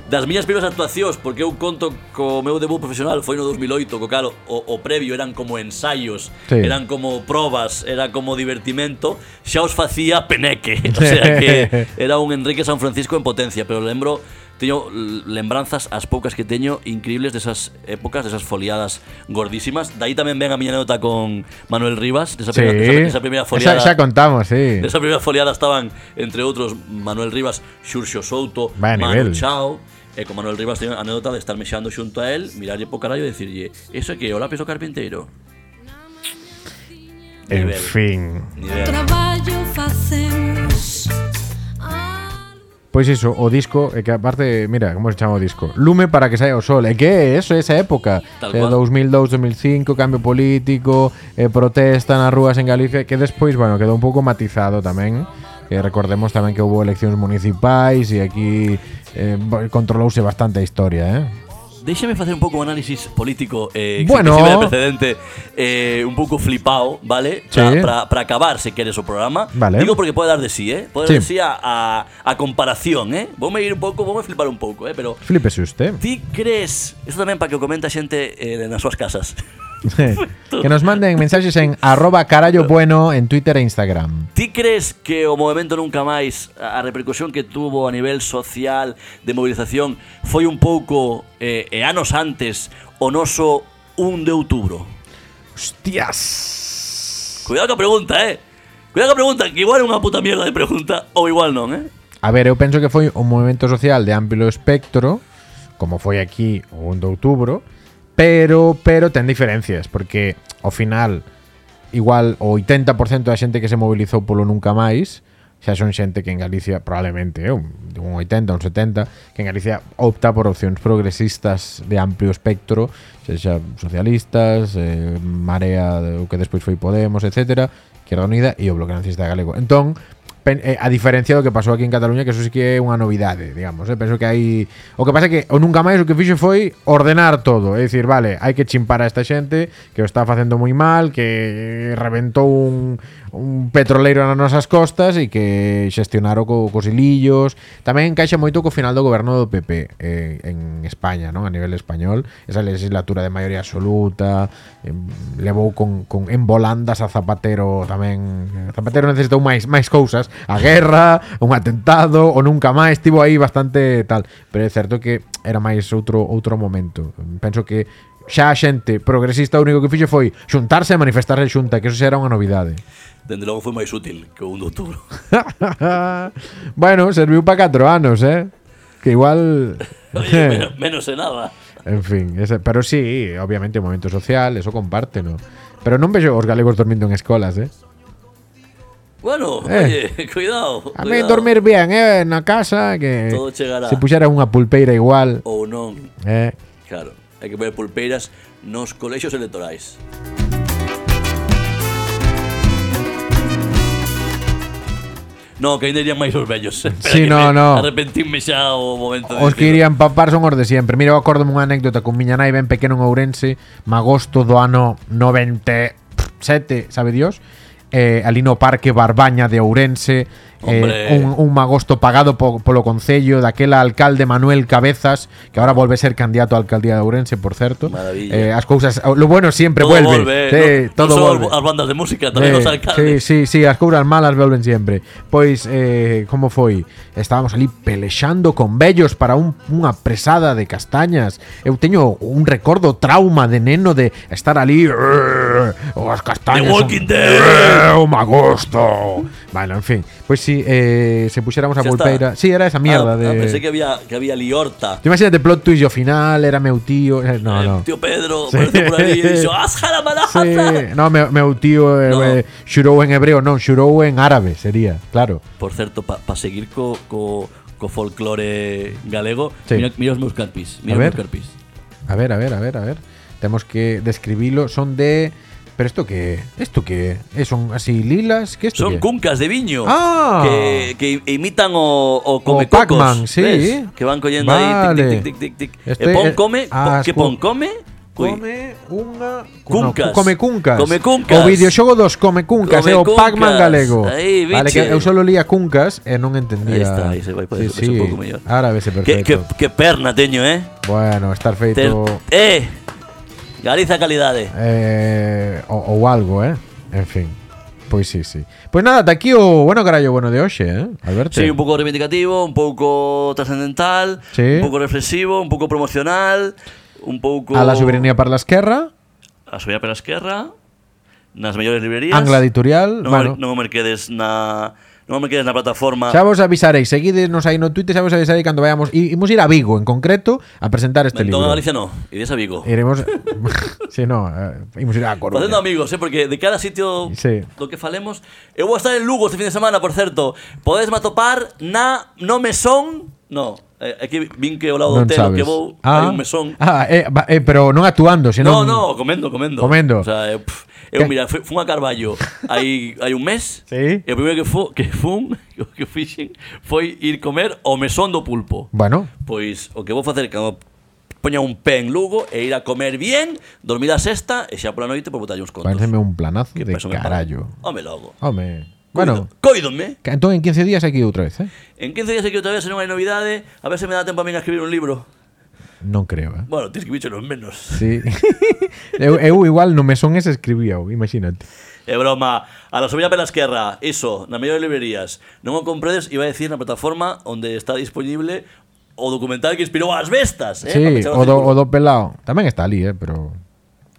Speaker 2: Das miñas primeiras actuacións, porque eu conto co meu debut profesional foi no 2008, co cal o, o previo eran como ensaios,
Speaker 1: Sí.
Speaker 2: eran como probas, era como divertimento, xa os facía peneque, [laughs] o sea
Speaker 1: [laughs]
Speaker 2: que era un Enrique San Francisco en potencia, pero lembro teño l- lembranzas as poucas que teño increíbles desas épocas, desas foliadas gordísimas. De aí tamén ven a miña anécdota con Manuel Rivas, desa
Speaker 1: Sí,
Speaker 2: primeira, desa- desa primeira foliada.
Speaker 1: Esa, esa contamos, sí
Speaker 2: Nesa primeira foliada estaban, entre outros, Manuel Rivas, Xurxo Souto,
Speaker 1: Vaya
Speaker 2: Manu
Speaker 1: nivel.
Speaker 2: Chao. E con Manuel Rivas teño a anécdota de estar mexando xunto a él, mirarlle po carallo e decirlle Eso é que é o lápiz do carpinteiro.
Speaker 1: En
Speaker 2: nivel.
Speaker 1: fin
Speaker 2: Nivel.
Speaker 4: Trabalho facemos. Ah,
Speaker 1: Pois iso, Pues o disco, e que aparte, mira, como se chama o disco? Lume para que saia o sol, e que é eso, esa época
Speaker 2: Tal
Speaker 1: eh,
Speaker 2: cual.
Speaker 1: 2002, 2005, cambio político eh, protesta nas rúas en Galicia que despois, bueno, quedou un pouco matizado tamén que recordemos tamén que houve eleccións municipais e aquí eh, bo- controlouse bastante a historia, eh?
Speaker 2: Déixame facer un pouco un análisis político eh, que
Speaker 1: Bueno.
Speaker 2: sirve de precedente eh, un pouco flipado, vale?
Speaker 1: Sí.
Speaker 2: Para acabar, se queres, o programa.
Speaker 1: Vale.
Speaker 2: Digo porque pode dar de sí, eh? Pode
Speaker 1: Sí.
Speaker 2: dar de sí a, a, a comparación, eh? Voume ir un pouco, voume flipar un pouco, eh? Pero
Speaker 1: Flipese usted.
Speaker 2: ti crees... Isto tamén para que o comenta xente eh, nas súas casas.
Speaker 1: [laughs] que nos manden mensaxes en arroba carallo bueno en Twitter e Instagram.
Speaker 2: Ti crees que o movimento nunca máis a a repercusión que tuvo a nivel social de movilización foi un pouco eh, e anos antes o noso 1 de outubro?
Speaker 1: Hostias.
Speaker 2: Cuidado que a pregunta, eh. Cuidado que a pregunta, que igual é unha puta mierda de pregunta ou igual non, eh.
Speaker 1: A ver, eu penso que foi un movimento social de amplo espectro, como foi aquí o 1 de outubro, pero pero ten diferencias, porque ao final igual o 80% da xente que se mobilizou polo nunca máis xa son xente que en Galicia probablemente é un, un 80, un 70 que en Galicia opta por opcións progresistas de amplio espectro xa, xa socialistas eh, Marea, de- o que despois foi Podemos etc, Izquierda Unida e o Bloque Nacionalista Galego entón pen- eh, a diferencia do que pasou aquí en Cataluña que eso sí que é unha novidade digamos, eh? penso que hai o que pasa é que o nunca máis o que fixo foi ordenar todo, é dicir, vale, hai que chimpar a esta xente que o está facendo moi mal que eh, reventou un, un petroleiro nas nosas costas e que xestionaron co, cos ilillos tamén encaixa moito co final do goberno do PP eh, en España, non? a nivel español esa legislatura de maioría absoluta eh, levou con, con en volandas a Zapatero tamén Zapatero necesitou máis máis cousas a guerra, un atentado o nunca máis, estivo aí bastante tal pero é certo que era máis outro outro momento, penso que xa a xente progresista o único que fixo foi xuntarse e manifestarse xunta, que eso xa era unha novidade [laughs]
Speaker 2: Dende logo foi máis útil que o 1 de outubro.
Speaker 1: bueno, serviu para 4 anos, eh que igual
Speaker 2: Oye, menos, menos de nada.
Speaker 1: En fin, ese- pero sí, obviamente o momento social, eso compártelo. Pero non vexo os galegos dormindo en escolas, eh?
Speaker 2: Bueno,
Speaker 1: Eh.
Speaker 2: oye, [laughs] cuidado.
Speaker 1: A mí
Speaker 2: cuidado.
Speaker 1: dormir bien, eh, na casa que
Speaker 2: Todo chegará.
Speaker 1: se puxera unha pulpeira igual,
Speaker 2: ou non,
Speaker 1: eh?
Speaker 2: claro. Hai que poner pulpeiras nos colexios electorais. No, que ainda irían máis os vellos. Espera
Speaker 1: Sí,
Speaker 2: que
Speaker 1: no,
Speaker 2: me
Speaker 1: no.
Speaker 2: Arrepentirme xa o momento de
Speaker 1: Os que
Speaker 2: decirlo.
Speaker 1: irían papar son os de sempre Mira, eu acordo unha anécdota con miña nai ben pequeno en Ourense Magosto do ano 90 e sete, sabe Dios. eh, Alino Parque Barbaña de Ourense
Speaker 2: Hombre.
Speaker 1: eh, un, un magosto pagado po- polo Concello daquela alcalde Manuel Cabezas que ahora volve ser candidato a alcaldía de Ourense por certo
Speaker 2: Maravilla.
Speaker 1: eh, as cousas, lo bueno siempre
Speaker 2: Todo
Speaker 1: vuelve,
Speaker 2: volve,
Speaker 1: Sí,
Speaker 2: no-
Speaker 1: todo
Speaker 2: no solo
Speaker 1: volve.
Speaker 2: as bandas de [laughs] música, tamén os
Speaker 1: Eh,
Speaker 2: alcaldes.
Speaker 1: Sí, sí, sí, as couras malas vuelven siempre. Pois, eh, como foi? Estábamos ali pelexando con vellos para un, unha presada de castañas. Eu teño un recordo trauma de neno de estar ali... "Rrr, As castañas...
Speaker 2: The Walking
Speaker 1: son-
Speaker 2: Dead."
Speaker 1: "Eh, O magosto. bueno, en fin. Pois si, sí, eh, se puxéramos a
Speaker 2: Xa está.
Speaker 1: volpeira... Si, sí, era esa mierda
Speaker 2: Ah,
Speaker 1: de...
Speaker 2: ah, pensé que había, que había Liorta.
Speaker 1: Tú Imagínate plot twist e ao final era meu tío... eh, No,
Speaker 2: Eh,
Speaker 1: no.
Speaker 2: Tío Pedro, aparece por ali e dixo, "Haz [laughs] jaramalaza".
Speaker 1: Sí, no, meu, meu tío eh,
Speaker 2: No.
Speaker 1: eh, xurou en hebreo, non, xurou en árabe, sería, claro.
Speaker 2: Por certo, para seguir co, co, co folclore galego,
Speaker 1: Sí.
Speaker 2: mira, mira os meus carpis.
Speaker 1: A
Speaker 2: Mira os
Speaker 1: ver.
Speaker 2: meus carpis.
Speaker 1: A ver, a ver, a ver, a ver. Temos que describilo, son de Pero isto que, isto que é? Eh, Son así lilas, que isto
Speaker 2: Son
Speaker 1: que? é?
Speaker 2: cuncas de viño
Speaker 1: Ah.
Speaker 2: que, que imitan o, o
Speaker 1: O
Speaker 2: come
Speaker 1: Pac-Man, sí.
Speaker 2: ¿ves? Que van collendo
Speaker 1: Vale.
Speaker 2: aí tic, tic, tic, tic, tic.
Speaker 1: Estoy-
Speaker 2: e pon
Speaker 1: eh,
Speaker 2: come,
Speaker 1: as
Speaker 2: pon, que
Speaker 1: cu-
Speaker 2: pon come, Ui,
Speaker 1: Come unha
Speaker 2: Cuncas.
Speaker 1: No, come cuncas.
Speaker 2: Come cuncas.
Speaker 1: O videoxogo dos come cuncas,
Speaker 2: Come
Speaker 1: é o
Speaker 2: cuncas.
Speaker 1: Pac-Man galego.
Speaker 2: Aí,
Speaker 1: vale,
Speaker 2: biche.
Speaker 1: que eu solo lía cuncas e non entendía.
Speaker 2: Aí está, aí se vai, pode ser un pouco mellor.
Speaker 1: Árabe se
Speaker 2: que,
Speaker 1: perfecto.
Speaker 2: que, que perna teño, eh?
Speaker 1: Bueno, estar feito
Speaker 2: Ter, eh! Galiza calidade.
Speaker 1: eh, o, ou algo, eh? En fin. Pois sí, sí. Pois nada, ata aquí o bueno carallo bueno de hoxe, eh? Alberto.
Speaker 2: Sí, un pouco reivindicativo, un pouco trascendental,
Speaker 1: Sí.
Speaker 2: un pouco reflexivo, un pouco promocional, un pouco
Speaker 1: A la soberanía para la esquerra,
Speaker 2: a soberanía para a esquerra, nas mellores librerías.
Speaker 1: Angla Editorial,
Speaker 2: Non,
Speaker 1: bueno.
Speaker 2: me, non me merquedes na non me merquedes na plataforma.
Speaker 1: Xa vos avisaréis, seguidesnos aí no Twitter, xa vos avisaréis cando vayamos. I, imos ir a Vigo, en concreto, a presentar este libro.
Speaker 2: Mentón a Galicia no, ides a Vigo.
Speaker 1: Iremos... [laughs] sí, no, eh, imos ir a Coruña.
Speaker 2: Facendo amigos, eh, porque de cada sitio
Speaker 1: Sí.
Speaker 2: do que falemos Eu vou estar en Lugo este fin de semana, por certo Podes me atopar na No Mesón No, eh, aquí vin que o lado do
Speaker 1: Non
Speaker 2: hotel o
Speaker 1: sabes.
Speaker 2: que vou Hai
Speaker 1: ah,
Speaker 2: un mesón
Speaker 1: Ah, eh, va- eh, pero non actuando,
Speaker 2: No,
Speaker 1: senón...
Speaker 2: no, comendo, comendo.
Speaker 1: Comendo.
Speaker 2: O sea, eu, pff,
Speaker 1: Que-
Speaker 2: eu mira, fui, fun a Carballo hai, hai un mes.
Speaker 1: Sí.
Speaker 2: E o primeiro que, fu, que fun, o que fixen, foi ir comer o mesón do pulpo.
Speaker 1: Bueno,
Speaker 2: Pois o que vou facer cando poña un pé en Lugo e ir a comer bien, dormir a sexta e xa pola noite por botarlle uns contos.
Speaker 1: pareceme un planazo de
Speaker 2: Eso me
Speaker 1: carallo.
Speaker 2: parece. Home logo.
Speaker 1: Home, bueno,
Speaker 2: Coido- coídome.
Speaker 1: ca- entón en 15 días aquí outra vez, eh?
Speaker 2: En 15 días aquí outra vez se non hai novidade, a ver se me dá tempo a min a escribir un libro.
Speaker 1: Non creo, eh?
Speaker 2: Bueno, ti escribiche non menos. [laughs]
Speaker 1: Sí. [laughs] eu, eu igual no mesón ese escribía, imagínate.
Speaker 2: É broma. A la subida pela esquerra, iso, na mellor de librerías. Non o compredes, iba a decir na plataforma onde está disponible o documental que inspirou as bestas, eh?
Speaker 1: sí,
Speaker 2: Para pechar
Speaker 1: o do, o
Speaker 2: círculo.
Speaker 1: do pelao. Tamén está ali, eh, pero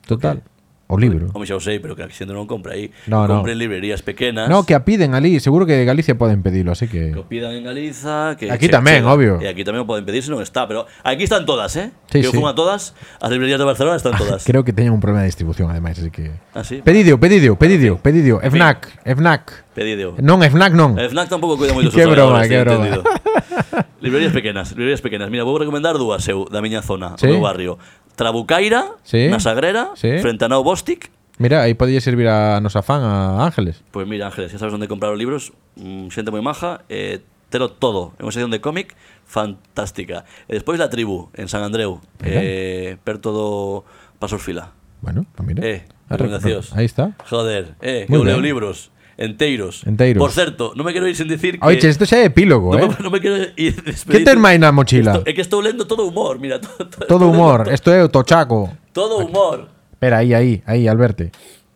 Speaker 1: total, o libro.
Speaker 2: Home, xa o sei, pero que a xente non compra aí.
Speaker 1: No, no.
Speaker 2: Compren librerías pequenas.
Speaker 1: No, que a piden ali, seguro que de Galicia poden pedilo, así que
Speaker 2: que o pidan en Galiza, que
Speaker 1: Aquí tamén, obvio.
Speaker 2: E aquí tamén o poden pedir se non está, pero aquí están todas, eh?
Speaker 1: Sí,
Speaker 2: Eu
Speaker 1: sí. Ah,
Speaker 2: fun a todas, as librerías de Barcelona están
Speaker 1: [laughs]
Speaker 2: todas.
Speaker 1: creo que teñen un problema de distribución ademais, así que
Speaker 2: Ah, sí?
Speaker 1: Pedidio, pedidio, pedidio, pedidio, FNAC, FNAC.
Speaker 2: Pedido.
Speaker 1: Non, FNAC non.
Speaker 2: El Eh, FNAC tampouco cuida
Speaker 1: [laughs]
Speaker 2: moito os
Speaker 1: Qué broma,
Speaker 2: traballadores,
Speaker 1: qué
Speaker 2: teño
Speaker 1: broma.
Speaker 2: entendido. [laughs] librerías pequenas, librerías pequenas. Mira, vou recomendar dúas eu da miña zona,
Speaker 1: Sí.
Speaker 2: do meu barrio. Trabucaira,
Speaker 1: Sí.
Speaker 2: na Sagrera,
Speaker 1: Sí.
Speaker 2: frente a Nau Bostic.
Speaker 1: Mira, aí podía servir a nosa fan a Ángeles.
Speaker 2: Pois Pues mira, Ángeles, xa sabes onde comprar os libros, mm, xente moi maja, eh, telo todo. É unha sección de cómic fantástica. E despois La Tribu, en San Andreu, eh, perto do Pasos Fila.
Speaker 1: Bueno, pues mira.
Speaker 2: Eh,
Speaker 1: Ah, re-
Speaker 2: recomendacións.
Speaker 1: Aí está.
Speaker 2: Joder, eh, que
Speaker 1: Muy
Speaker 2: eu leo
Speaker 1: ben.
Speaker 2: libros enteiros.
Speaker 1: Enteiros.
Speaker 2: Por certo, non me quero ir sen dicir que...
Speaker 1: Oiche, isto xa é epílogo,
Speaker 2: [laughs] No,
Speaker 1: eh.
Speaker 2: me, no me quero ir [laughs]
Speaker 1: Que
Speaker 2: despedir.
Speaker 1: ten máis na mochila?
Speaker 2: Esto- é que estou lendo todo humor, mira. [laughs] to- to-
Speaker 1: Todo
Speaker 2: Todo,
Speaker 1: humor, eh. isto é o tochaco.
Speaker 2: Todo humor.
Speaker 1: Espera, aí, aí, aí, Alberto.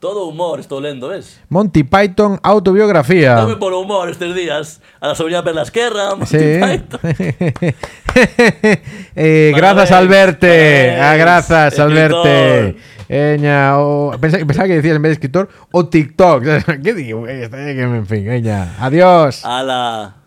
Speaker 2: Todo humor estou lendo, ves?
Speaker 1: Monty Python autobiografía.
Speaker 2: Dame por humor estes días. A la sobrina per la esquerra, a
Speaker 1: Ah.
Speaker 2: Monty
Speaker 1: [laughs] Sí.
Speaker 2: Python.
Speaker 1: eh, grazas Alberte,
Speaker 2: Parabéns,
Speaker 1: ah, grazas
Speaker 2: escritor.
Speaker 1: Alberte. Eña, o pensaba, pensaba que decías en vez [laughs] de escritor o TikTok. ¿Qué digo? Eh, En fin, eña. Adiós.
Speaker 2: A la...